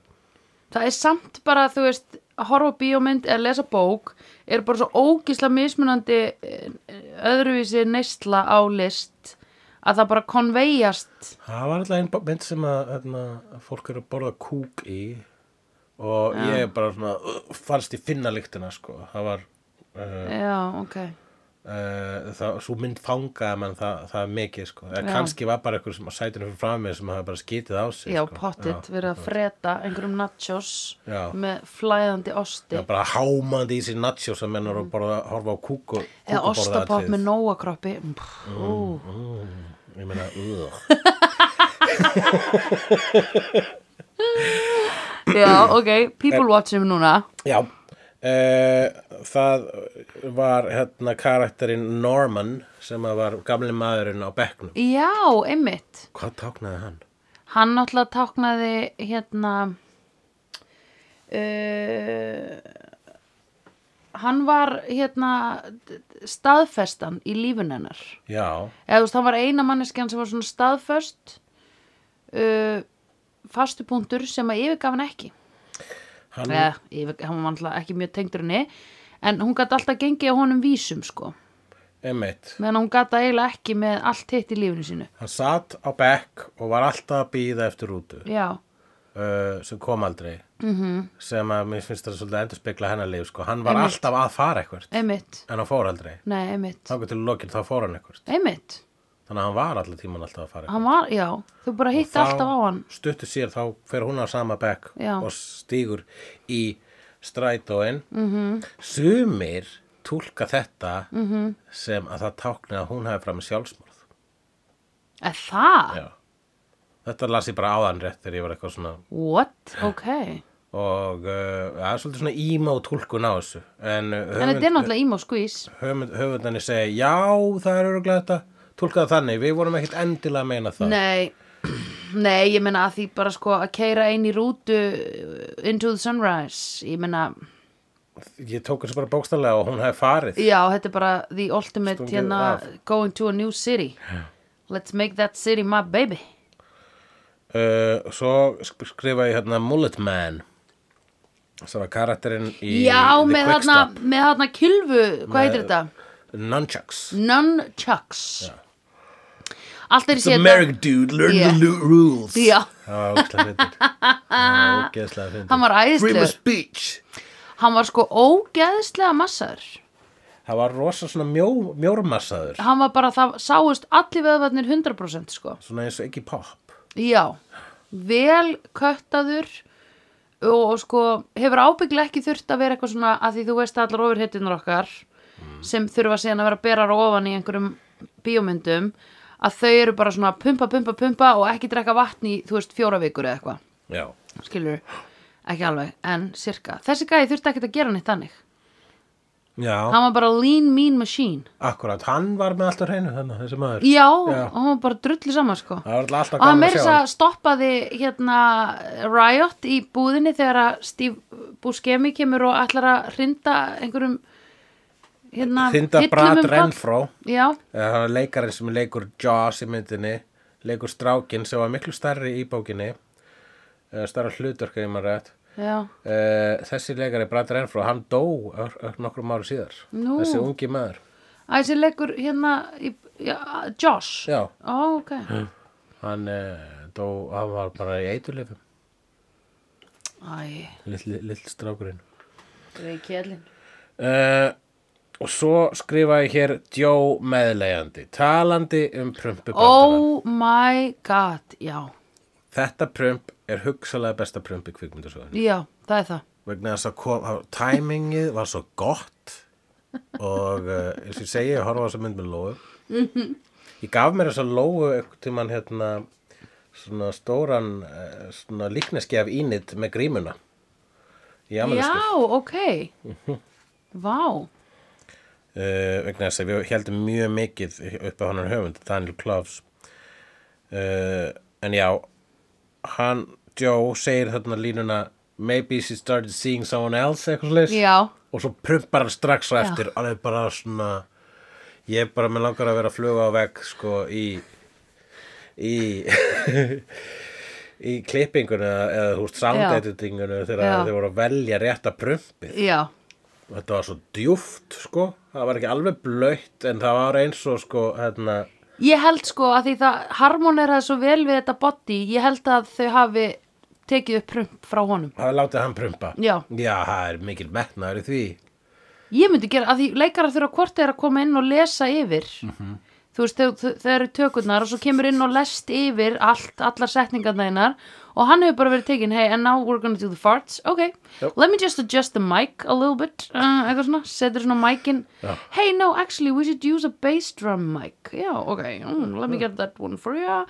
S1: það er samt bara, þú veist, að horfa á bíómynd eða lesa bók er bara svo ógísla mismunandi eh, öðruvísi neysla á list að það bara konveyjast
S2: Það var alltaf einn bo- mynd sem að hérna, fólk eru að borða kúk í og ég bara svona uh, fannst í finna lyktina sko. það var uh,
S1: já, ok
S2: uh, það, svo mynd fangaði mann það, það er mikið sko. eða
S1: Já.
S2: kannski var bara einhver sem að sætinu fyrir fram mig sem hafa bara skítið á sig
S1: já,
S2: sko.
S1: pottit,
S2: já,
S1: verið að freta einhverjum nachos
S2: Já.
S1: með flæðandi osti
S2: já, bara hámandi í sér nacho sem menn eru að borða, horfa á kúk og
S1: Mm. eða ostapopp með
S2: nóg
S1: nóakroppi mm.
S2: ég meina, uh,
S1: já, ok, people watching núna
S2: já uh, það var hérna karakterinn Norman sem að var gamli maðurinn á bekknum
S1: já, einmitt
S2: Hvað táknaði hann?
S1: Hann náttúrulega táknaði hérna uh, hann var hérna d- d- staðfestan í lífun hennar
S2: Já,
S1: eða þú veist, hann var eina manneskjan sem var svona staðföst uh, fastupunktur sem að yfirgaf hann ekki
S2: hann,
S1: eða, yfir, hann var náttúrulega ekki mjög tengdur henni en hún gæti alltaf gengið á honum vísum sko,
S2: einmitt,
S1: meðan hún gæti eiginlega ekki með allt hitt í lífinu sínu
S2: hann satt á bekk og var alltaf að býða eftir rútu
S1: já,
S2: uh, sem kom aldrei -hmm. sem að mér finnst það svolítið að endurspegla hennar líf sko. hann var
S1: Mhm. Einmitt.
S2: alltaf að fara eitthvert
S1: einmitt
S2: en hann fór aldrei,
S1: nei, einmitt,
S2: þangur til lokin þá fór hann eitthvert
S1: einmitt
S2: þannig að hann var alltaf tíman alltaf að fara eitthvert
S1: hann var, já, þú bara hitti alltaf á hann
S2: stuttu sér þá fer hún á sama bekk
S1: Já.
S2: og stígur í strætóin mm
S1: Mhm.
S2: -hmm. sumir túlka þetta -hmm. sem að það tákni að hún hafi fram sjálfsmorð
S1: er það?
S2: Já. Þetta las ég bara áðan rétt þegar ég var eitthvað svona
S1: what? ok
S2: og uh, það er svolítið svona ímá tólkun á þessu en, uh,
S1: en þetta er
S2: höfund,
S1: náttúrulega emo squeeze
S2: höfund, höfundanir segja já það er öruglega þetta tólkaða þannig, við vorum ekkert endilega að meina það
S1: nei, (clears throat) Nei, ég meina að því bara sko að keira einn í rútu uh, into the sunrise, ég meina
S2: Ég tók þessu bara bókstallega og hún hefði farið.
S1: já, þetta er bara the ultimate
S2: Stungið
S1: hérna,
S2: af.
S1: going to a new city let's make that city my baby
S2: Uh, svo sk- skrifaði ég hérna Mullet Man. Það var karakterinn í
S1: Já,
S2: The
S1: með
S2: Quick
S1: þarna,
S2: Stop.
S1: með þarna kylfu, hvað heitir þetta?
S2: Nunchucks.
S1: Nunchucks Allt er í
S2: The Merrick dude, learn
S1: Yeah.
S2: the lu- rules.
S1: Já,
S2: Það var ógeðslega
S1: (laughs)
S2: fyndir. Það var ógeðslega fyndir.
S1: Hann var æðislegur.
S2: Freedom of speech.
S1: hann var sko ógeðslega massar
S2: Það var rosa svona mjó, mjórmassaður.
S1: Hann var bara, það sáust allir veðvarnir 100% sko
S2: Svona eins og ekki pop.
S1: Já, vel köttaður og, og sko hefur ábygglega ekki þurft að vera eitthvað svona að því þú veist að allar ofurhettunar okkar sem þurfa síðan að vera að bera ofan í einhverjum bíómyndum að þau eru bara svona pumpa, pumpa, pumpa og ekki drekka vatn í, þú veist, fjóra vikur eða eitthvað
S2: Já.
S1: skilur ekki alveg, en sirka þessi gæði þurfti ekkert að gera neitt þannig
S2: Já,
S1: hann var bara lean mean machine
S2: akkurat. Hann var með allt á hreinu þannig, þessi maður.
S1: já,
S2: Já.
S1: og hann var bara drullu saman sko
S2: Það var alltaf
S1: og hann
S2: gaman að
S1: meira
S2: sjá
S1: þess
S2: hann.
S1: að stoppaði hérna Riot í búðinni þegar að Steve Buscemi kemur og ætlar að hrinda einhverjum hérna
S2: Þinda
S1: hillum
S2: Brad
S1: um pall.
S2: Renfró.
S1: já,
S2: Eh, Það var leikarinn sem leikur Jaws í myndinni, leikur strákinn sem var miklu starri í bókinni, eh, starra hlutverka í maður rétt.
S1: já,
S2: Eh, Þessi leikari Brad Renfró, hann dó ör- ör- nokkrum áru síðar.
S1: Nú.
S2: Þessi ungi maður.
S1: að þessi leikur hérna í, já, Josh
S2: Já,
S1: Ó, ok,
S2: hann eh, dó, hann var bara í eiturleifum,
S1: æ,
S2: litli, litli strákurinn.
S1: reiki ellin
S2: Uh, og svo skrifaði ég hér Joe meðlegjandi, talandi um prumpubandarann.
S1: oh my god, já
S2: Þetta prump er hugsalega besta prump í kvikmyndasöðunni.
S1: já, það er það
S2: Vegna þess að kom, að timingið var svo gott og uh, eins og ég segi, ég horfa á þess mynd með lóu. Ég gaf mér þess að lóu einhvern tímann hérna svona stóran eh, svona líkneski af ínit með grímuna. Í amalisku.
S1: já, ok
S2: Mhm.
S1: vá,
S2: uh, vegna þess að við heldum mjög mikið upp á hann höfund, Daniel Kloves uh, en já hann, Joe, segir þarna línuna maybe she started seeing someone else eitthvað slags
S1: já
S2: og svo prumpar hann strax á
S1: Já.
S2: eftir alveg bara svona ég er bara með langar að vera að fluga á vegg sko í í (laughs) í klippingunni eða, eða húst
S1: Já.
S2: soundeditingunni
S1: Já.
S2: þegar þau voru að velja rétta prumpið
S1: já,
S2: Þetta var svo djúft, sko. Það var ekki alveg blöytt, en það var eins og, sko, hérna,
S1: Ég held sko að því það harmoneraði svo vel við þetta body, ég held að þau hafi tekið upp prump frá honum.
S2: það er látið hann prumpa.
S1: Já.
S2: Já, það er mikil metnaður í því.
S1: Ég myndi gera, að því leikarar þurfa hvort þeir að koma inn og lesa yfir.
S2: Mhm.
S1: Þú veist, þau, þau, þau eru tökurnar og svo kemur inn og lest yfir allt, allar setningarna einar og hann hefur bara verið tekin, hey, and now we're gonna do the farts, ok,
S2: Yep.
S1: let me just adjust the mic a little bit, uh, eitthvað svona, setur svona micin,
S2: Já.
S1: hey, no, actually, we should use a bass drum mic, já, ok, mm, let me get that one for you,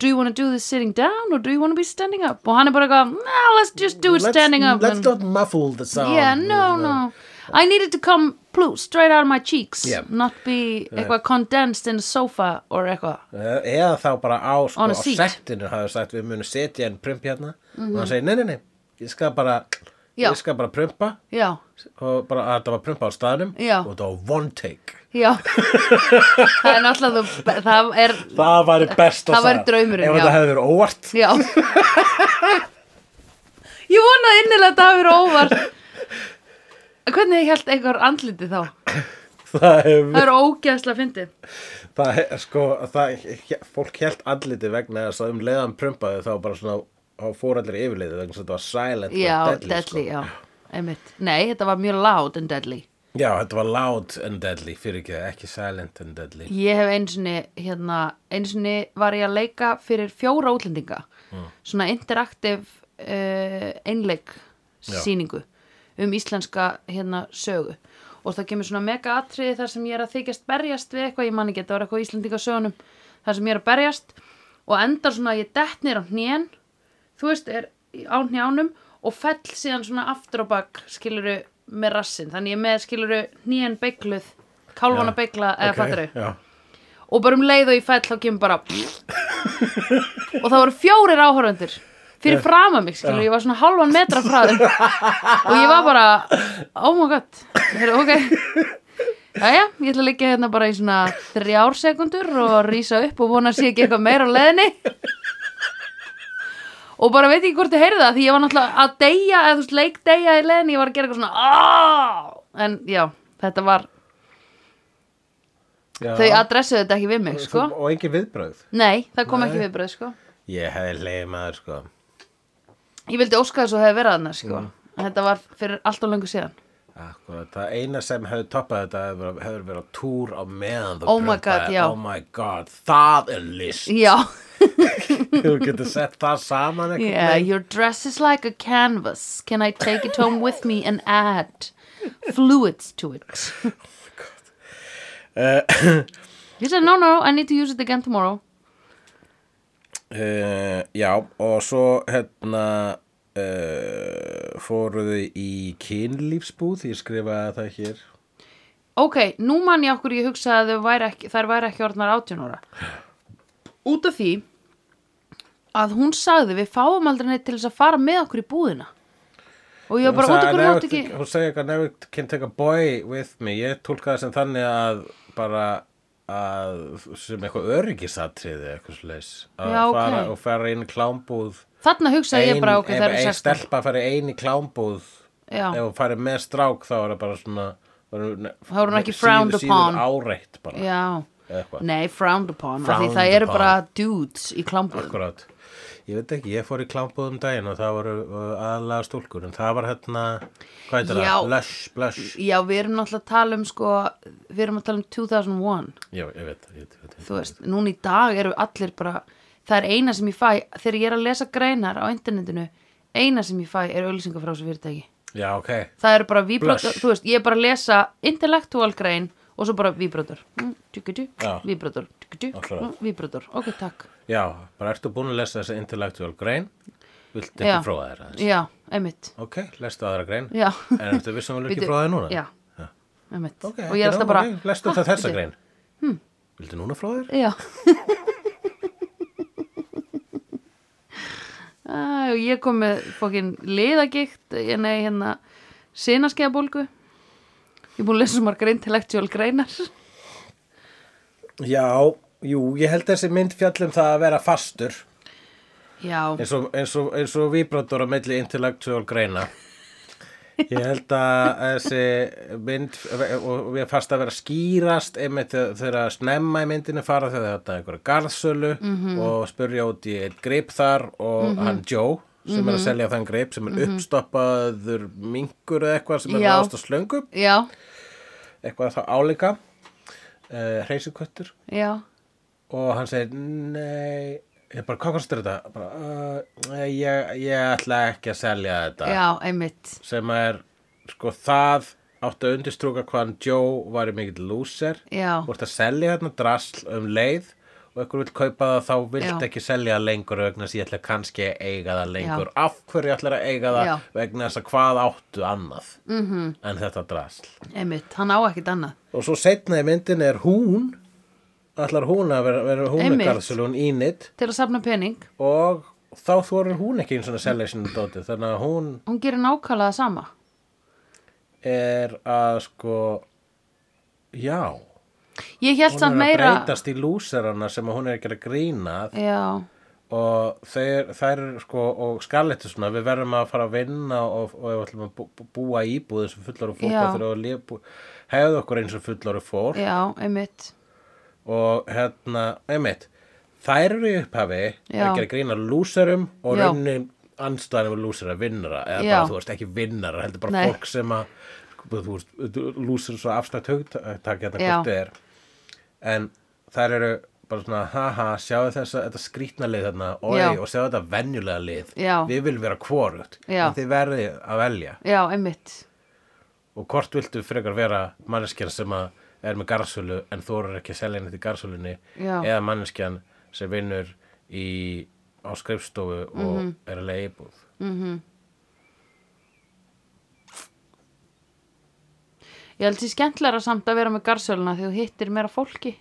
S1: do you want to do this sitting down or do you want to be standing up? Og hann er bara eitthvað, nah, let's just do it standing up.
S2: Let's
S1: and-
S2: not muffle the sound.
S1: Oh, Yeah, no, no. I needed to come blue straight out of my cheeks,
S2: Yeah.
S1: not be eitthvað condensed in a sofa or eitthvað.
S2: Eh, Eða þá bara á, sko,
S1: On a
S2: á
S1: seat. Mhm.
S2: settinu hafði sagt við munum setja en prump hérna. Og hann segir, nei, nei, nei, ég skal bara,
S1: Já.
S2: ég skal bara prumpa.
S1: Já,
S2: Og bara, að þetta var prumpa á staðnum.
S1: Já.
S2: Og þetta var one take.
S1: já. (laughs) það er náttúrulega, þú- það er,
S2: Það væri best
S1: Það væri draumurinn,
S2: Ef
S1: já.
S2: þetta hefði verið óvart. (laughs)
S1: já. Ég vonaði innilega að það hafi verið óvart. Hvernig held einhver andliti þá?
S2: Það hefur
S1: Það er ógeðslega fyndið.
S2: Það er sko, það, fólk held andliti vegna þess að um leiðan prumpaði þá bara svona á fórallir yfirleiði vegna þess að þetta var silent sko.
S1: Já,
S2: and
S1: deadly, sko. já. Einmitt. Nei, þetta var mjög loud en deadly.
S2: Sko. Já, þetta var loud and deadly, fyrir ekki, ekki silent and deadly.
S1: Ég hef einsinni, hérna, einsinni var ég að leika fyrir fjóra útlendinga, svona interaktiv uh, einleik
S2: Já.
S1: sýningu um íslenska hérna, sögu og það kemur svona mega atriði þar sem ég er að þykjast berjast við eitthvað, ég man ekki, þetta var eitthvað í íslendinga sögunum, þar sem ég er að berjast og endar svona að ég dettnir á hnén, þú veist, er á hnjánum og fell síðan svona aftur á bak, skiluru, með rassin, þannig ég er með skiluru hnén beigluð, kálfana
S2: Já.
S1: beigla, eða okay. fatturu
S2: Já,
S1: og bara um leið og ég fell þá kemur bara og það voru fjórir áhorfundur
S2: Eh.
S1: fyrir frama mig, skilur, ég var svona halvan metra frá þeim og ég var bara oh my god, Heru, ok Jæja, ég ætla að liggja hérna bara í svona þrjár sekundur og rýsa upp og vona að sé ekki eitthvað meira á leðinni og bara veit ekki hvort þið heyrið það því ég var náttúrulega að deyja eða þú veist leik deyja í leðinni, ég var að gera eitthvað svona "Ah!" en já, þetta var
S2: Já.
S1: þau adressuðu þetta ekki við mig,
S2: Þú-
S1: sko
S2: og engin viðbröð
S1: Nei, það kom
S2: Nei.
S1: ekki viðbröð, sko
S2: ég hefði leiði maður sko
S1: Ég vildi óska þess að hefði verið annars, sko En Þetta var fyrir allt og löngu síðan
S2: Akkurat, það eina sem hefði toppað þetta hefur hefur verið á túr á meðan þú
S1: Oh my
S2: prumpaðir.
S1: God, já.
S2: oh my god, það er
S1: (laughs)
S2: list
S1: Já,
S2: þú getur sett það saman einhvern
S1: yeah,
S2: veginn.
S1: your dress is like a canvas Can I take it home with me and add fluids to it He said, no, no, I need to use it again tomorrow
S2: Eh, já, og svo hérna uh, fóruðu í kynlífsbúð, ég skrifaði það hér
S1: Ok, nú man ég okkur ég hugsa að þau væri ekki, þær væri ekki orðnar 18 ára Út af því að hún sagði við fáum aldrei neitt til þess að fara með okkur í búðina og ég var bara
S2: Hún
S1: út
S2: sagði,
S1: okkur
S2: "I
S1: látt
S2: never-
S1: ekki
S2: Hún segi eitthvað, never can take a boy with me Ég tólkaði sem þannig að bara að sem eitthvað öryggisatriði eitthvað slags að
S1: Já, ok.
S2: fara og fara inn í klámbúð
S1: Þarna hugsaði ég bara ok,
S2: ein,
S1: það eru
S2: ein
S1: 16
S2: stelpa að fara ein í klámbúð
S1: Já.
S2: ef hún farið með strák þá er það bara svona þá
S1: Þá er hún ekki frowned upon.
S2: síður áreitt bara
S1: Já,
S2: eða eitthvað
S1: nei, frowned upon af Því
S2: Frowned
S1: það eru
S2: upon.
S1: bara dudes í klámbúðum
S2: Akkurát. Ég veit ekki, ég fór í klámbúð um daginn og það voru uh, aðalega stúlkur en það var hérna, hvað heitir
S1: Já.
S2: það? Lush, blush
S1: Já, við erum náttúrulega að tala um sko Við erum að tala um 2001
S2: Já, ég veit, ég veit, ég veit.
S1: Þú veist, núna í dag eru allir bara Það er eina sem ég fæ Þegar ég er að lesa greinar á internetinu Eina sem ég fæ er auðlýsingar frá þessu fyrirtæki
S2: Já, ok.
S1: Það eru bara víbrotur
S2: Blush.
S1: Þú veist, ég er bara að lesa intellektual grein Og svo bara Mm, víbrotur
S2: Já.
S1: Víbrotur
S2: Akkurat.
S1: Víbrotur, mm, ok, takk
S2: Já, bara ertu búin að lesa þessi intellectual grein? Viltu
S1: Já.
S2: ekki fróða þér aðeins?
S1: Já, einmitt
S2: Ok, lestu aðra grein.
S1: Já
S2: En ertu vissum að
S1: Bíddu,
S2: ekki fróða þér núna?
S1: Já, einmitt
S2: Ok,
S1: Og ég er
S2: já,
S1: alltaf bara
S2: ok, lestu
S1: "Ha,
S2: það þessa
S1: bíddu." Hmm.
S2: grein. Viltu núna fróða þér?
S1: Já (laughs) Æ, og Ég kom með fókin liðagikt Nei, hérna Sinaskeiðabólgu Ég er búin að lesa svo margar intellectual greinar
S2: Já, jú, ég held þessi mynd fjallum það að vera fastur.
S1: Já,
S2: Eins og, eins og, eins og vibrator á milli intellectual greina. Ég held að þessi mynd, og við erum fast að vera skýrast einmitt þegar- þegar að snemma í myndinu fara þegar þetta er einhverja garðsölu og spurja út í eitt grip þar og hann Joe sem er að selja þann grip sem er uppstoppaður minkur eða eitthvað sem er
S1: Já.
S2: ráðast að slöngu,
S1: já,
S2: eitthvað þá álíka, uh, hreysiköttur
S1: já
S2: og hann segir nei, ég bara hvað kostur þetta? Bara, uh, nei, ég, ég ætla ekki að selja þetta
S1: Já, einmitt
S2: sem er sko það átti að undirstrúka hvaðan Joe var í mikill lúser
S1: Já.
S2: þú ert að selja hérna drasl um leið og ykkur vill kaupa það þá vilt
S1: Já.
S2: ekki selja það lengur vegna þess að ég ætla kannski að eiga það lengur
S1: Já.
S2: af hverju ætlar að eiga það
S1: Já. Mhm.
S2: vegna þess að hvað áttu annað mm -hmm. en þetta drasl
S1: Einmitt, hann á ekkert annað
S2: og svo setna í myndin er hún ætlar hún að vera, vera hún er
S1: Einmitt.
S2: garðsölun ínit
S1: Til að safna pening
S2: og þá þorir hún ekki eins og að selja sinni dóti þannig að hún
S1: Hún gerir nákvæmlega það sama
S2: er að sko já
S1: Ég held
S2: hún
S1: samt
S2: er að
S1: meira
S2: breytast í lúserana sem að hún er ekki að grína
S1: Já, og
S2: og þeir, þær eru sko og skalletu svona, við verðum að fara að vinna og, og ef við ætlum að bú- bú- búa í íbúð sem fullar og fólk
S1: Já.
S2: þá þurfum við að lifa, bú- hefða okkur eins og fullar og fólk
S1: já, einmitt
S2: og hérna, einmitt þær eru í upphafi
S1: Já.
S2: ekki að grína lúserum og
S1: Já.
S2: rauninni anstæðan við lúsera vinnara eða
S1: Já.
S2: bara þú veist ekki vinnara, heldur bara
S1: Nei.
S2: fólk sem að sko, þú veist, lúser svo afstætt hugtak hérna
S1: Já.
S2: hvort þið er en þær eru bara svona haha, sjáu þess að þetta skrýtna lið þarna, oi,
S1: Já.
S2: og sjáu þetta venjulega lið
S1: Já.
S2: við viljum vera kvorugt
S1: Já.
S2: en þið verðið að velja
S1: Já, einmitt
S2: og hvort viltu frekar vera manneskjan sem að er með garðsölu en þú eru ekki að selja henni til garðsölunni
S1: Já.
S2: eða manneskjan sem vinnur í, á skrifstofu og
S1: Mhm.
S2: er að leiða íbúð
S1: Ég held því skemmtlara samt að vera með garðsöluna því þú hittir meira fólki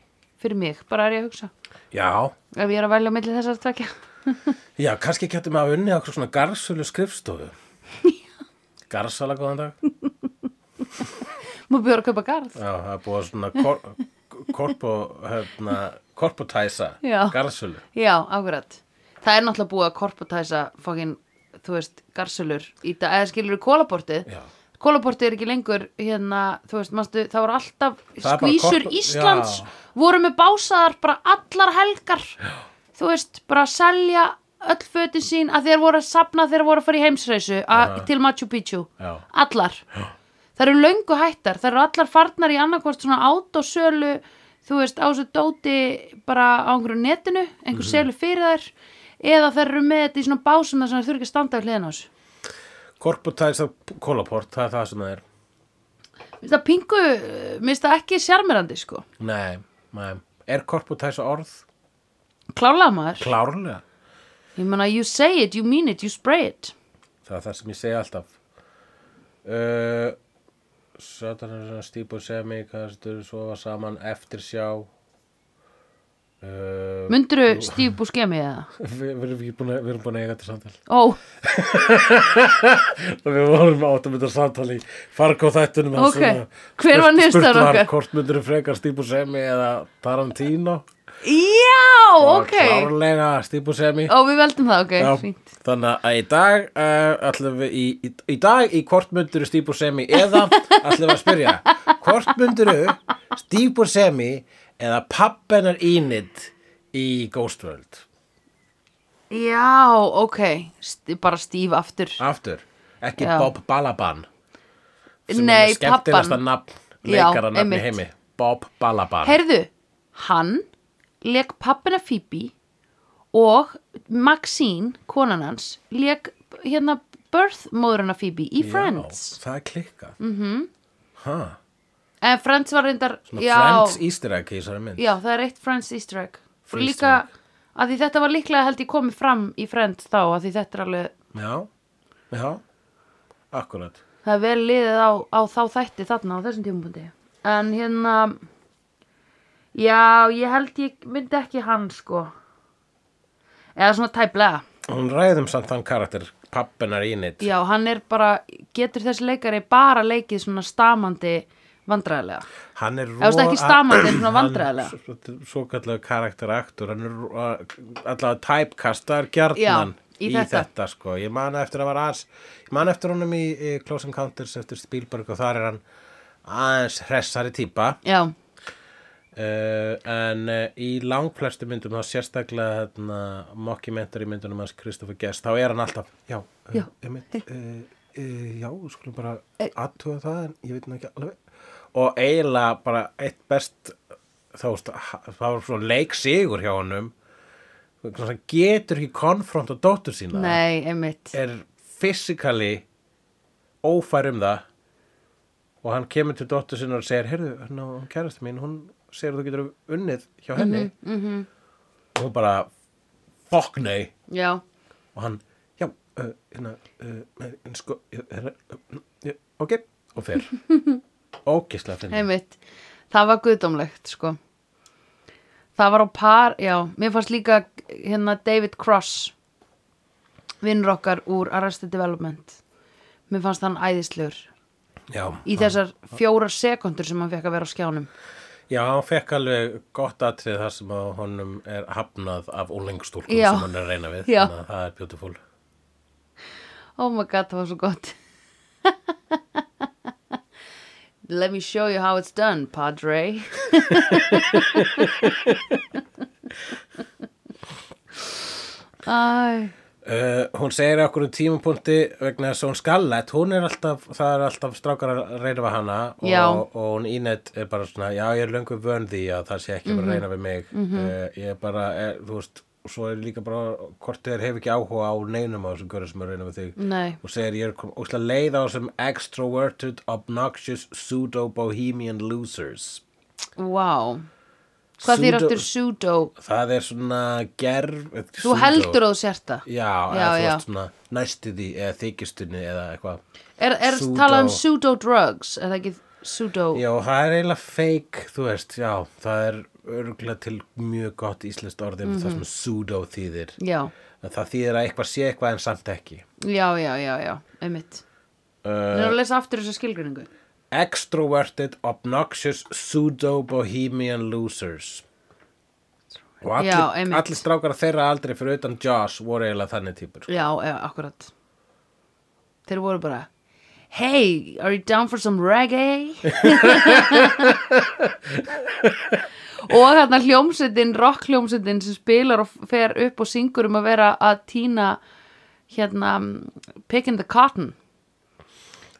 S1: fyrir mig, bara er ég að hugsa.
S2: Já,
S1: ef ég er að velja á milli þessar tvekja
S2: já, kannski getur maður að unni okkur svona
S1: (laughs)
S2: garðsölu skrifstofu. Garðsala, góðan
S1: (laughs)
S2: dag.
S1: Má bjóra að kaupa garð
S2: Já, það er búið að svona kor, korpo, hérna, korpotæsa
S1: Já.
S2: garðsölu.
S1: Já, akkurat Það er náttúrulega búið að korpotæsa fókin, þú veist, garsölur í dag, eða skilur kólaportið
S2: Já.
S1: Kólaportið er ekki lengur hérna, þú veist, manstu, það voru alltaf
S2: Það er bara
S1: skvísur
S2: korpa-
S1: Íslands
S2: Já.
S1: voru með básaðar bara allar helgar Já. þú veist, bara að selja öll fötin sín að þeir voru að sapna þeir voru að fara í heimsreisu að, til Machu Picchu
S2: Já.
S1: allar það eru löngu hættar, það eru allar farnar í annarkvort svona átosölu þú veist, á þessu dóti bara á einhverju netinu, einhver
S2: Mhm.
S1: selu fyrir þær eða þær eru með þetta í svona básum þar sem þær þurfi ekki að standa á hliðin á þessu
S2: Korpotæsa kólaport, það er það sem það er.
S1: Mér finnst það pingu, eh, mér finnst það ekki sjarmerandi sko,
S2: Nei, nei. Er korpotæsa orð?
S1: klálega maður
S2: Klárlega.
S1: ég meina, you say it, you mean it, you spray it
S2: Það er það sem ég segi alltaf. Uh, Satanar stípur semi, kastur, sofa saman, eftir sjá. Uh,
S1: myndirðu Steve Buscemi
S2: (laughs)
S1: eða?
S2: við, við, erum ekki búin að, við erum búin að eiga þetta samtal.
S1: Ó,
S2: Og við vorum áttum þetta samtal í Fargo þættunum.
S1: Ok, hver var niðurstaðan
S2: Spurt var
S1: okkar?
S2: hvort myndur frekar stípur semi eða Tarantino.
S1: já,
S2: Og
S1: ok
S2: Klárlega stípur semi.
S1: Ó, við veldum það, ok,
S2: Já,
S1: fínt
S2: þannig að í dag uh, ætlum við í, í, í dag í kortmunduru stípur semi eða ætlum við að spyrja kortmunduru stípur semi eða pappenar ínid í Ghost World
S1: Já, ok, St bara Steve aftur
S2: aftur, ekki
S1: Já.
S2: Bob Balaban sem
S1: Nei,
S2: er skemmtilegasta
S1: pabban.
S2: nafn
S1: Já,
S2: leikara nafn í
S1: einmitt.
S2: heimi Bob Balaban
S1: Heyrðu, hann leik pappina Phoebe og Maxine, konan hans, leik hérna birth móðurina Phoebe í Friends.
S2: Já, það er klikkað mm -hmm.
S1: En Friends var reyndar, já,
S2: Friends easter egg í þessari mynd
S1: já, það er eitt Friends easter egg. Og
S2: Easter
S1: líka, að því þetta var líklega held ég komið fram í Friends þá, að því þetta er alveg,
S2: já, já. akkurat
S1: það er vel liðið á, á þá þætti þarna á þessum tímabundi. En hérna, já, ég held ég myndi ekki hann sko. Eða svona tæplega.
S2: Hún ræðum samt þann karakter, pappenar ínit.
S1: Já, hann er bara, getur þessi leikari bara leikið svona stamandi vandræðilega.
S2: Hann er roa...
S1: veist, ekki stamandi, en svona vandræðalega.
S2: Svo kallega karakteraktur, hann er roa... allavega typecastar gjarnan
S1: Já, í þetta.
S2: sko. Ég man eftir að var aðeins, ég man eftir honum í, í Close Encounters eftir Spielberg og þar er hann aðeins hressari típa.
S1: Já,
S2: Uh, en uh, í langflestu myndum þá sérstaklega hérna, mockumentary myndunum hans Kristoffer Guest þá er hann alltaf já,
S1: Já. Eh.
S2: Um, um, uh, já við skulum bara aðtuga það en ég veit nú ekki alveg og eiginlega bara eitt best þá veist, ha- það var svona leiksigur hjá honum Svona sem getur ekki konfront á dóttur sína
S1: nei, einmitt.
S2: er fysikali ófær um það og hann kemur til dóttur sinna og segir heyrðu, hann á kærasti mín, hún segir að þú getur unnið hjá henni
S1: Mhm,
S2: og hún bara fuck nei
S1: Já,
S2: og hann, já, uh, hérna uh, uh, sko, uh, uh, uh, ok, og
S1: (laughs)
S2: fer ógislega finni
S1: einmitt. Það var guðdómlegt, sko. Það var á par, já, mér fannst líka hérna David Cross, vinnur okkar úr Arrested Development. Mér fannst hann æðislegur
S2: já,
S1: í þessar fjórar sekundur sem hann fekk að vera á skjánum.
S2: já, hann fekk alveg gott atrið þar sem að honum er hafnað af úlengstúlkum
S1: Já.
S2: sem hann er að reyna við
S1: Já.
S2: þannig að það er beautiful
S1: Oh my god, það var svo gott. (laughs) Let me show you how it's done, Padre. Æ,
S2: Uh, hún segir okkur um tímapunkti vegna þess að hún skallett, hún er alltaf það er alltaf strákar að reyna við hana
S1: Já.
S2: og, og hún ínett er bara svona já ég er löngu vön því að það sé ekki mm að
S1: Mhm.
S2: reyna við mig uh, ég er bara er, þú veist, og svo er líka bara hvort þeir hefur ekki áhuga á neinum á þessum görðum sem er að reyna við þig
S1: nei,
S2: og segir ég er kom óslega leið á þessum extroverted, obnoxious pseudo-bohemian losers
S1: wow. Hvað þýr
S2: Pseudo-
S1: aftur pseudo?
S2: það er svona gerf
S1: Þú heldur að þú sért það.
S2: Já,
S1: Já,
S2: eða þú
S1: já.
S2: veist svona næstu því eða þykistunni eða eitthvað
S1: Er, er
S2: Pseudo-
S1: talað um pseudo drugs, er það ekki Sudo
S2: Já, það er eiginlega fake, þú veist, já, það er örgulega til mjög gott íslenskt orðið mm
S1: Mhm.
S2: það sem pseudo þýðir.
S1: Já,
S2: En Það þýðir að eitthvað sé eitthvað en samt ekki.
S1: já, já, já, já, einmitt Nú
S2: Uh,
S1: erum að lesa aftur þessa skilgreiningu
S2: Extroverted, obnoxious, pseudo-bohemian losers. Og allir,
S1: Já, einmitt.
S2: allir strákar þeirra aldrei fyrir utan Josh voru eiginlega þannig sko. típur.
S1: Já, já, akkurat Þeir voru bara Hey, are you down for some reggae? og hérna hljómsveitin, rockhljómsveitin sem spilar og fer upp og syngur um að vera að týna hérna picking the cotton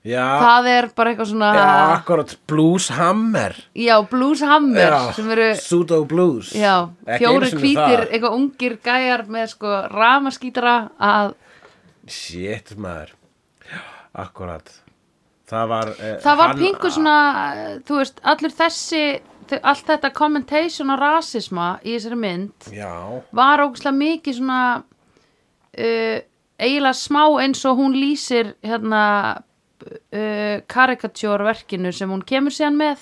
S2: Já,
S1: það er bara eitthvað svona
S2: Ah. já akkurat blues hammer.
S1: já, blues hammer
S2: Já,
S1: sem eru
S2: pseudo-blues.
S1: Já,
S2: Ekki einu
S1: fjóri
S2: sinni
S1: hvítir,
S2: það.
S1: eitthvað ungir gæjar með sko ramaskítara að
S2: Shit, maður. Akkurat. Það var... Eh,
S1: það var
S2: hann-
S1: pingu svona, eh, þú veist, allur þessi, þau- allt þetta commentation og rasisma í þessari mynd
S2: Ah, Já,
S1: var ógustlega mikið svona uh, eiginlega smá eins og hún lýsir hérna uh, karikatjórverkinu sem hún kemur síðan með.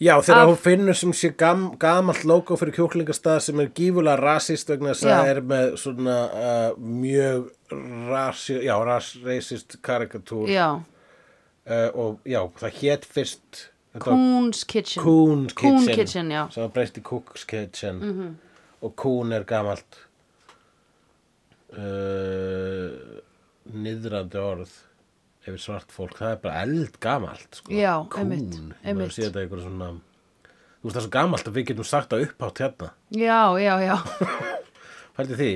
S2: já þegar
S1: Af-
S2: hún finnur sem sé gam, gamalt logo fyrir kjóklingastað sem er gífulega rasist vegna þess að
S1: Já.
S2: er með svona uh, mjög rasi, já, ras, rasist karikatúr
S1: Já,
S2: uh, og já, það hét fyrst þetta var
S1: Coon's Kitchen.
S2: Coon Kitchen,
S1: Coon Kitchen, já. Mhm.
S2: sem var breyst í Cook's Kitchen -hmm. og Coon er gamalt uh, niðrandi orð yfir svart fólk, það er bara eld gamalt sko.
S1: Já,
S2: Coon,
S1: einmitt,
S2: ég maður
S1: einmitt.
S2: sé þetta einhver svona þú veist það er svo gamalt að við getum sagt það upphátt hérna,
S1: Já, já, já.
S2: fældi því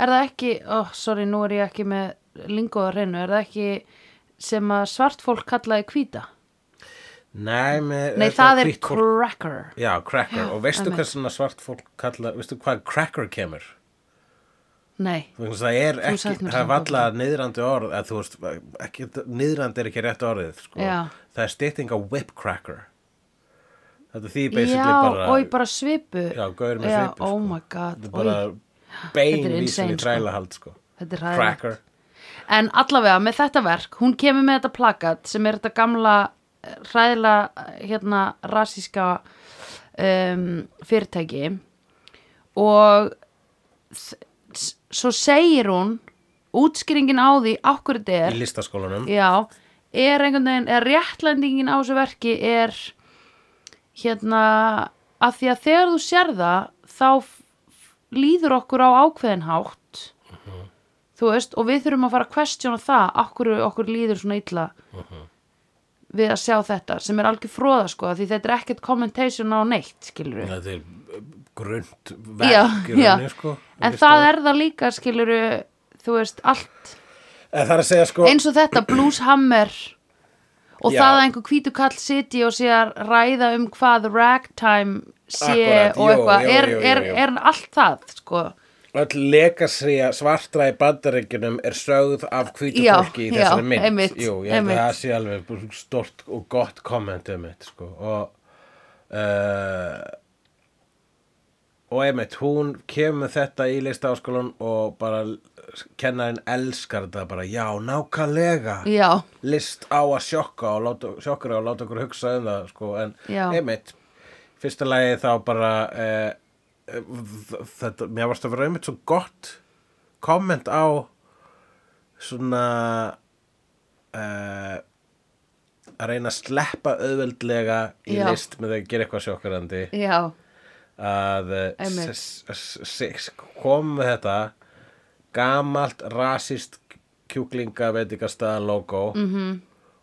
S1: Er það ekki, oh, sorry, nú er ég ekki með lingóða reynu, er það ekki sem að svart fólk kallaði hvíta?
S2: Nei, með,
S1: Nei,
S2: þetta
S1: það er
S2: hvítt fólk-
S1: cracker.
S2: Já, cracker, og veistu
S1: einmitt.
S2: hvað svona svart fólk kalla, veistu hvað cracker kemur?
S1: Nei,
S2: Þú veist, það er ekki,
S1: sagt mér
S2: það er
S1: samt
S2: valla niðrandi orð, að þú veist, ekki, niðrandi er ekki rétt orðið, sko.
S1: Já.
S2: Það er stytting á whipcracker. Þetta því
S1: já,
S2: basically bara,
S1: oi, bara svipu.
S2: já, gaur með
S1: Já,
S2: svipu, sko.
S1: oh my god,
S2: Þetta
S1: oi,
S2: er bara bein
S1: Þetta er
S2: vísin
S1: insane,
S2: í
S1: sko.
S2: trælahald, sko.
S1: þetta er ræðilegt.
S2: Cracker.
S1: En allavega, með þetta verk, hún kemur með þetta plakat sem er þetta gamla, ræðila, hérna, rasíska um, fyrirtæki og s- s- svo segir hún útskýringin á því okkur þetta er
S2: Í listaskólanum.
S1: Já, er einhvern veginn, er réttlændingin á þessu verki er hérna að því að þegar þú sér það þá f- f- líður okkur á ákveðin hátt þú veist, og við þurfum að fara að questiona það, okkur, okkur líður svona illa við að sjá þetta sem er algjör fróða sko, af því þetta er ekkert commentation á neitt, skilur við
S2: Þetta er grund
S1: Já,
S2: verk, í
S1: já.
S2: rauninni, sko.
S1: en það er það líka, skilur við þú veist, allt
S2: En það er að segja, sko,
S1: eins og þetta Blues Hammer og
S2: Já.
S1: það að einhver hvítu kall sitji og sé að ræða um hvað ragtime sé og
S2: Akkúrat, jú,
S1: eitthvað
S2: jú,
S1: er,
S2: jú, jú,
S1: er,
S2: jú.
S1: er allt það sko
S2: öll legasíja svartra í bandaríkjunum er sögð af hvítu
S1: Já,
S2: fólki í
S1: já,
S2: þessari mynd
S1: einmitt,
S2: Jú, ég held
S1: einmitt.
S2: að það sé alveg stort og gott komment um þetta sko. og uh, og einmitt hún kemur með þetta í listaháskólan og bara kennarinn elskar þetta bara já, nákvæmlega
S1: já,
S2: list á að sjokka og láta, sjokkra og láta okkur hugsa um það sko, en
S1: Já.
S2: einmitt fyrsta lagi þá bara eh, eh, þ- þetta, mér varst að vera einmitt svo gott komment á svona eh, að reyna að sleppa auðveldlega í
S1: Já.
S2: list með að gera eitthvað sjokkarandi
S1: já,
S2: að eh,
S1: Einmitt.
S2: s- s- s- kom með þetta gamalt rasist kjúklinga veitingastaðan logo mm -hmm.
S1: Mhm.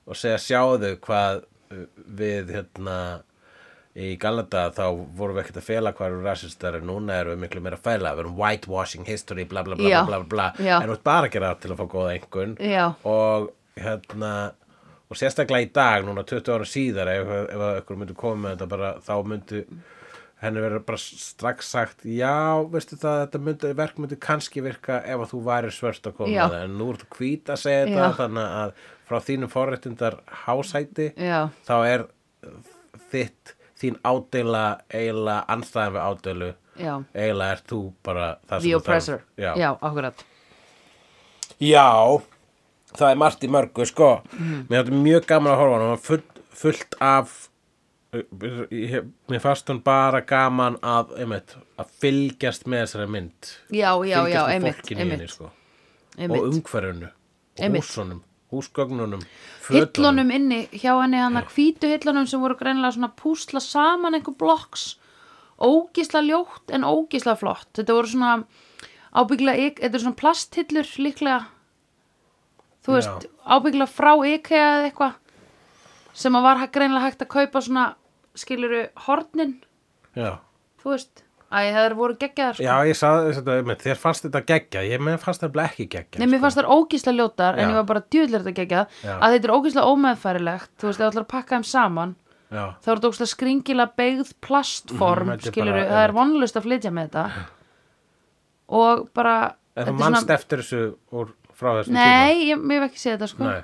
S2: og segja sjáðu hvað uh, við hérna í Galanda þá vorum við ekkert að fela hvað eru rasistar en núna erum við miklu meira að fæla við erum whitewashing history bla bla bla
S1: Já,
S2: bla bla bla
S1: já.
S2: en þú ert bara að gera það til að fá góða einhvern
S1: Já.
S2: og hérna og sérstaklega í dag núna 20 ára síðar ef, ef að ykkur myndu koma með þetta bara, þá myndu henni verður bara strax sagt já, veistu það, þetta myndi, verk myndi kannski virka ef að þú væri svört að koma
S1: Já.
S2: með það en nú ertu hvít að segja þetta
S1: Já.
S2: þannig að frá þínum forréttindar hásæti
S1: já,
S2: þá er þitt þín ádeila eiginlega anstæðan við ádeilu
S1: já
S2: eiginlega ert þú bara það sem
S1: The
S2: þú þarf.
S1: Oppressor,
S2: já.
S1: já, akkurat
S2: Já, það er margt í mörgu sko mér þetta mjög gaman að horfa á hann hann var full, fullt af eh, ég- mér fannst hann bara gaman að, einmitt, að fylgjast með þessari mynd
S1: Já, já, já,
S2: fylgjast með
S1: einmitt,
S2: fólkinu í henni
S1: einmitt,
S2: sko.
S1: einmitt.
S2: og umhverfinu og
S1: Einmitt.
S2: húsunum, húsgögnunum fötunum.
S1: hillunum inni hjá henni hann að hvítu hillunum sem voru greinilega svona púsla saman einhver blokks ógisla ljótt en ógisla flott þetta voru svona ábyggla þetta eru svona plasthillur líklega þú
S2: Já.
S1: veist ábyggla frá IKEA eða eitthvað sem að var hæ- greinilega hægt að kaupa svona skiluru hornin
S2: já
S1: þú veist Æ, það voru geggjaðar sko.
S2: Já, ég sagði þetta, einmitt, þér fannst þetta geggja, ég mér fannst þetta ekki geggja.
S1: Nei, mér fannst þar ógísla ljótar en
S2: sko. Já.
S1: ég var bara djúðlega þetta geggjað
S2: Já.
S1: að þetta er ógísla ómeðfærilegt þú veist, ef þú ætlar að pakka þeim saman
S2: Já,
S1: þá er þetta ógstlega skringilega beigð plastform,
S2: Mhm,
S1: mm,
S2: þetta er
S1: skilur
S2: bara-
S1: það er vonlust að flytja með þetta og bara
S2: en
S1: þetta
S2: þú
S1: er
S2: mannst eftir þessu úr frá þessum
S1: nei, ég, ég hef ekki séð þetta sko
S2: tíma. Nei.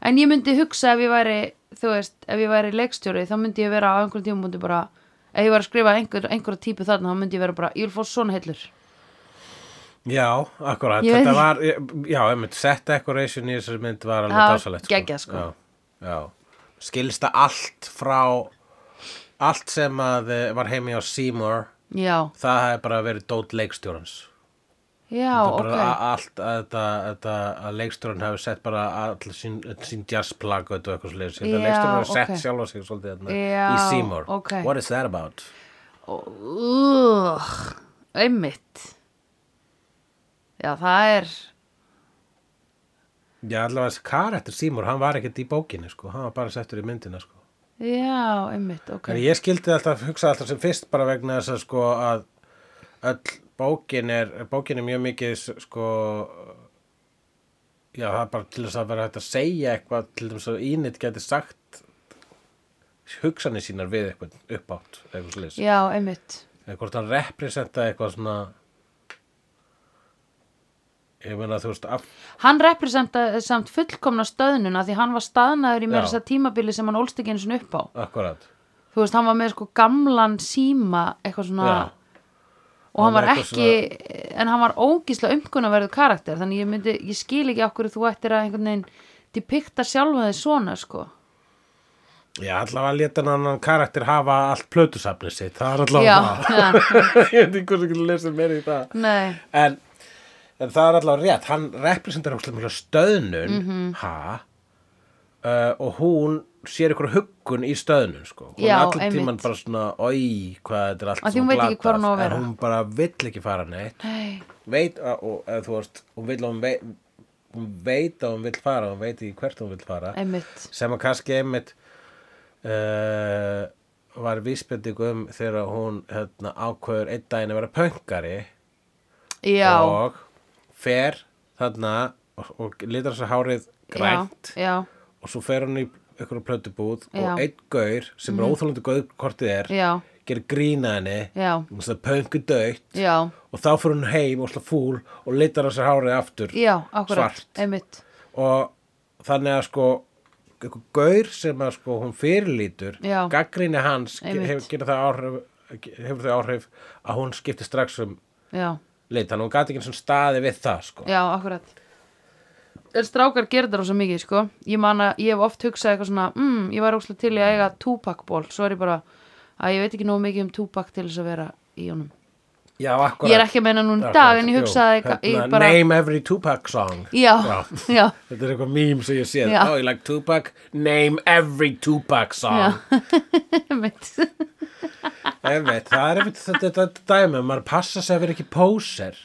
S1: en ég myndi hugsa ef ég væri þú veist, ef ég væri leikstjóri þá myndi ég vera á einhverjum tímum múndi bara ef ég var að skrifa einhver, einhverja típu þarna þá myndi ég vera bara, ég vil fá svona hillur
S2: Já, akkurat,
S1: Ég veit ekki.
S2: þetta var, já, einmitt, set decoration í þessari mynd var alveg
S1: Það var
S2: dásalegt.
S1: geggjað, sko.
S2: Já, já. Skilsta allt frá, allt sem að eh, var heimi á Seymour,
S1: já,
S2: það hefði bara verið dót leikstjórans.
S1: já,
S2: Þetta er
S1: ok
S2: bara a- allt að þetta, þetta að leikstjórinn hefur sett bara all sín, sín jazzplug og eitthvað sliðis. Þetta
S1: Já,
S2: leikstjórinn hefur sett
S1: ok.
S2: sjálf á sig svolítið þarna
S1: Já,
S2: í Seymour.
S1: ok.
S2: What is that about?
S1: Úh, einmitt já, það er
S2: Já, allavega þessi karættur Seymour, hann var ekkert í bókinni sko, hann var bara settur í myndina sko.
S1: já, einmitt, ok
S2: En ég skildi alltaf, hugsa alltaf sem fyrst bara vegna þess að sko að öll bókin er, bókin er mjög mikið s- sko, já það er bara til þess að vera hægt að segja eitthvað til þess að Ínit geti sagt hugsanir sínar við eitthvað uppátt, eitthvað sliðis.
S1: Já, einmitt.
S2: eða hvort hann representa eitthvað svona ég meina þú veist af,
S1: Hann representaði samt fullkomna stöðnuna því hann var staðnaður í mér
S2: Já.
S1: þess að tímabili sem hann ólst ekki einu sinni upp á.
S2: akkurat
S1: Þú veist, hann var með sko gamlan síma eitthvað svona
S2: Já.
S1: og hann
S2: Hann
S1: var
S2: var eitthvað
S1: ekki, en hann var ógísla umkunnaverðu karakter þannig ég myndi, ég skil ekki okkur þú ættir að einhvern veginn depikta sjálfa þig svona sko.
S2: já allavega leta hann annan karakter hafa allt plötusafni sitt það er allavega
S1: Já, (laughs)
S2: það ég veit ekki hvort ekki lesið meira í það
S1: Nei,
S2: en, en það er allavega rétt hann representar óslega mjög stöðnun mm
S1: Mhm.
S2: -hmm. ha uh, og hún sér ykkur huggun í stöðnun sko. hún
S1: Já,
S2: er allan
S1: einmitt.
S2: tíman bara svona oi hvað þetta er allt
S1: Af því
S2: svona
S1: hún veit ekki hvar hún á að
S2: glatað."
S1: vera.
S2: en hún bara vill ekki fara neitt
S1: nei,
S2: veit að, og, að þú veist, hún vil að hún veit hún veit að hún vil fara hún veit ekki hvert hún vil fara
S1: einmitt.
S2: sem að kannski einmitt uh, var vísbending um þegar hún hérna, ákveður einn daginn að vera pöngari
S1: Já,
S2: og fer þarna og, og litar þess að hárið grænt
S1: já, já,
S2: og svo fer hún í einhverju plötubúð
S1: Já. Mhm.
S2: og einn gaur sem er óþólandi gaur hvort þið er
S1: Já.
S2: gerir grína henni
S1: Já.
S2: hún sagði pöngu dögt
S1: já,
S2: og þá fyrir hún heim og slá fúl og litar þessar hárið aftur
S1: já, akkurat,
S2: Svart.
S1: einmitt.
S2: og þannig að sko einhver gaur sem að sko hún fyrirlítur
S1: Já.
S2: gaggrinni hans ge-
S1: Einmitt.
S2: hefur, gerir það áhrif, hefur þau áhrif að hún skipti strax um
S1: Já.
S2: lit þannig að hún gæti ekki svona staði við það sko
S1: Já, akkurat En strákar gerir það rosa mikið, sko Ég man að ég hef oft hugsað eitthvað svona mm, Ég var óslega til í að eiga túpakból Svo er ég bara að ég veit ekki nóg mikið um túpak til þess að vera í honum
S2: Já, akkurat,
S1: Ég er ekki að meina núna í dag en ég hugsaði eitthvað ég bara,
S2: hérna, Name every Tupac song
S1: Já, (laughs) já.
S2: Þetta er eitthvað mím sem ég séð
S1: Já.
S2: Oh, you like Tupac? Name every Tupac song
S1: Já. (laughs) Einmitt.
S2: Einmitt, það er einmitt þetta, þetta, þetta dæmi maður passa sig að vera ekki póser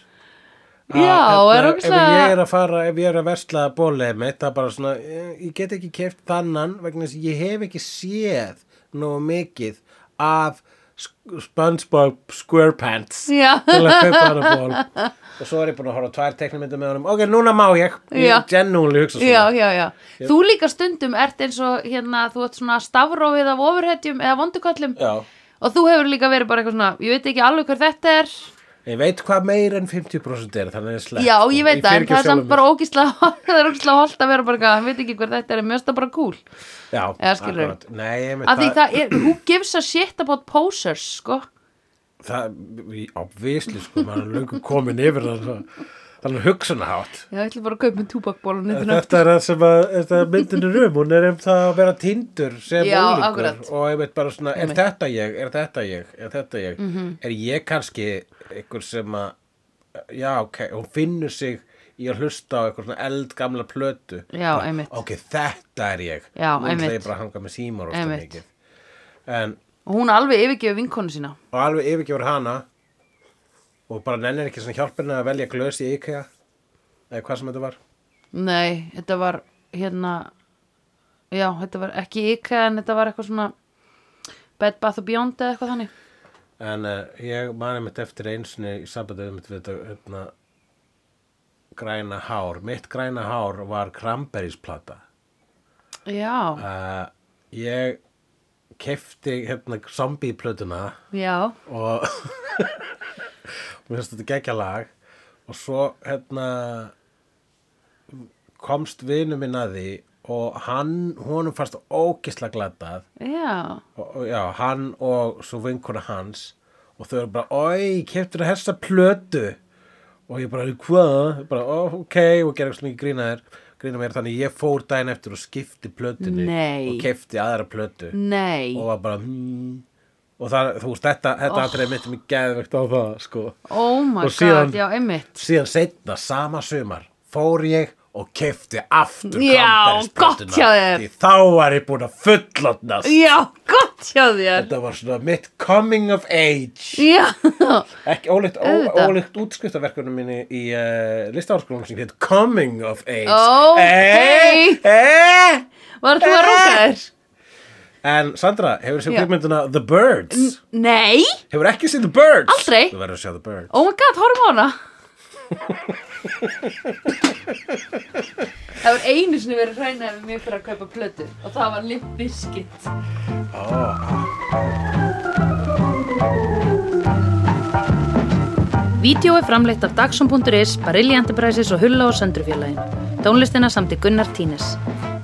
S1: Já, er
S2: hérna, ef ég
S1: ógeðslega-
S2: er að fara, ef ég er að versla bólið mitt, það er bara svona eh, ég get ekki keft þannan vegna þess að ég hef ekki séð nógu mikið af Sk- Spongebob Squarepants
S1: Já.
S2: til að kaupa hana ból og svo er ég búin að horfa á tvær teknimyndum með honum ok, núna má ég,
S1: Já.
S2: ég genúli hugsa svona
S1: (laughs) já, já, já Þú líka stundum ert eins og hérna Þú ert svona stafrófið af ofurhetjum Eða vonduköllum
S2: Já.
S1: Og þú hefur líka verið bara eitthvað svona Ég veit ekki alveg hver þetta er
S2: Ég veit hvað meir en 50% er, þannig að sko. ég slett
S1: Já, ég veit það, en það er samt
S2: um
S1: bara ógísla (laughs) það er ógísla holt að vera bara eitthvað, hann veit ekki hver þetta er, en mjög stað bara cool
S2: Já,
S1: Eða skilurðu?
S2: akkurat. Nei, ég
S1: af því það er, who gives a shit about posers, sko
S2: það, obvísli sko, maður er löngu komin yfir það þannig hugsunahátt
S1: Já, ég ætla bara að kaupa með túbakbólun
S2: (laughs) þetta er það sem að þetta myndin er um, hún er um það að vera tindur sem
S1: Já,
S2: unglingur
S1: akkurat.
S2: og einmitt bara svona, er
S1: Einmitt. Mhm.
S2: þetta ég, er þetta ég er þetta ég, er ég kannski einhver sem að já, ok, hún finnur sig í að hlusta á eitthvað svona eldgamla plötu
S1: Já,
S2: Bara,
S1: einmitt.
S2: ok, þetta er ég
S1: Já,
S2: Nú ætla
S1: einmitt.
S2: ég bara að hanga með símar og það
S1: Einmitt.
S2: mikið en,
S1: Og hún alveg yfirgefi vinkonu sína
S2: og alveg yfirgefur hana og bara nennir ekki svona hjálpina að velja glös í IKEA eða hvað sem þetta var
S1: Nei, þetta var hérna Já, þetta var ekki IKEA en þetta var eitthvað svona Bed Bath Beyond eða eitthvað þannig
S2: En uh, ég mani mitt eftir einsinni í sambandið mitt við þetta hérna, græna hár. Mitt græna hár var Cranberries-plata.
S1: Já,
S2: Uh, ég kefti hérna zombie-plötuna
S1: já,
S2: og (laughs) mér finnst þetta geggja lag og svo hérna komst vinu minn að því og hann, honum fannst ógisla glatað
S1: já
S2: og, og- já, hann og svo vinkona hans og þau eru bara, oi, keftur að hessa plötu og ég bara, hvað? bara, "Ó, ok, og gerði svona ekki grínaðir grína mér, þannig ég fór daginn eftir og skipti plötunni
S1: Nei.
S2: og kefti aðra plötu
S1: Nei,
S2: og var bara, hmm og það, þú veist, þetta, þetta oh. atrið mitt er mér geðvegt á það, sko
S1: oh my
S2: og síðan-
S1: god, já, einmitt
S2: síðan setna, sama sumar, fór ég og kefti aftur
S1: Já,
S2: Cranberries-plötuna.
S1: gott hjá þér.
S2: því þá var ég búin að fullotnast
S1: Já, gott hjá þér
S2: þetta var svona mitt coming of age
S1: Já,
S2: ekki ólíkt, ó-
S1: Auðvitað.
S2: ólíkt útskriftaverkunum minni í uh, listaháskólanum sem heit Coming of Age
S1: Ó,
S2: Eh,
S1: hey.
S2: eh.
S1: var þú að róka þér?
S2: En Sandra, hefur séð
S1: Já.
S2: kvikmyndina The Birds?
S1: Nei,
S2: Hefur ekki séð The Birds?
S1: Aldrei.
S2: Þú verður að sjá The Birds
S1: oh my god, horfum á hana Það var einu sinni verið hrænaði við mig fyrir að kaupa plötu og það var Limp Bizkit Vídeó er framleitt af Dagsum.is, Barilli Enterprises og Hulla og Söndrufjörlægin. Tónlistina samt í Gunnar Tínes.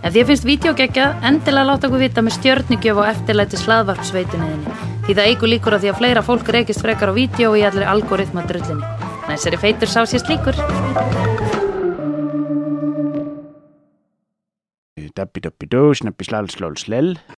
S1: Ef því að finnst vídeo geggja, endilega láta okkur vita með stjörnigjöf og eftirlæti slaðvarpsveituninni. Því það eigur líkur að því að fleira fólk reykist frekar á vídeo í allir algoritma drullinni. Næsari feitur sá sér slíkur.
S3: Dabbi dabbi dó, snabbi slal slól slell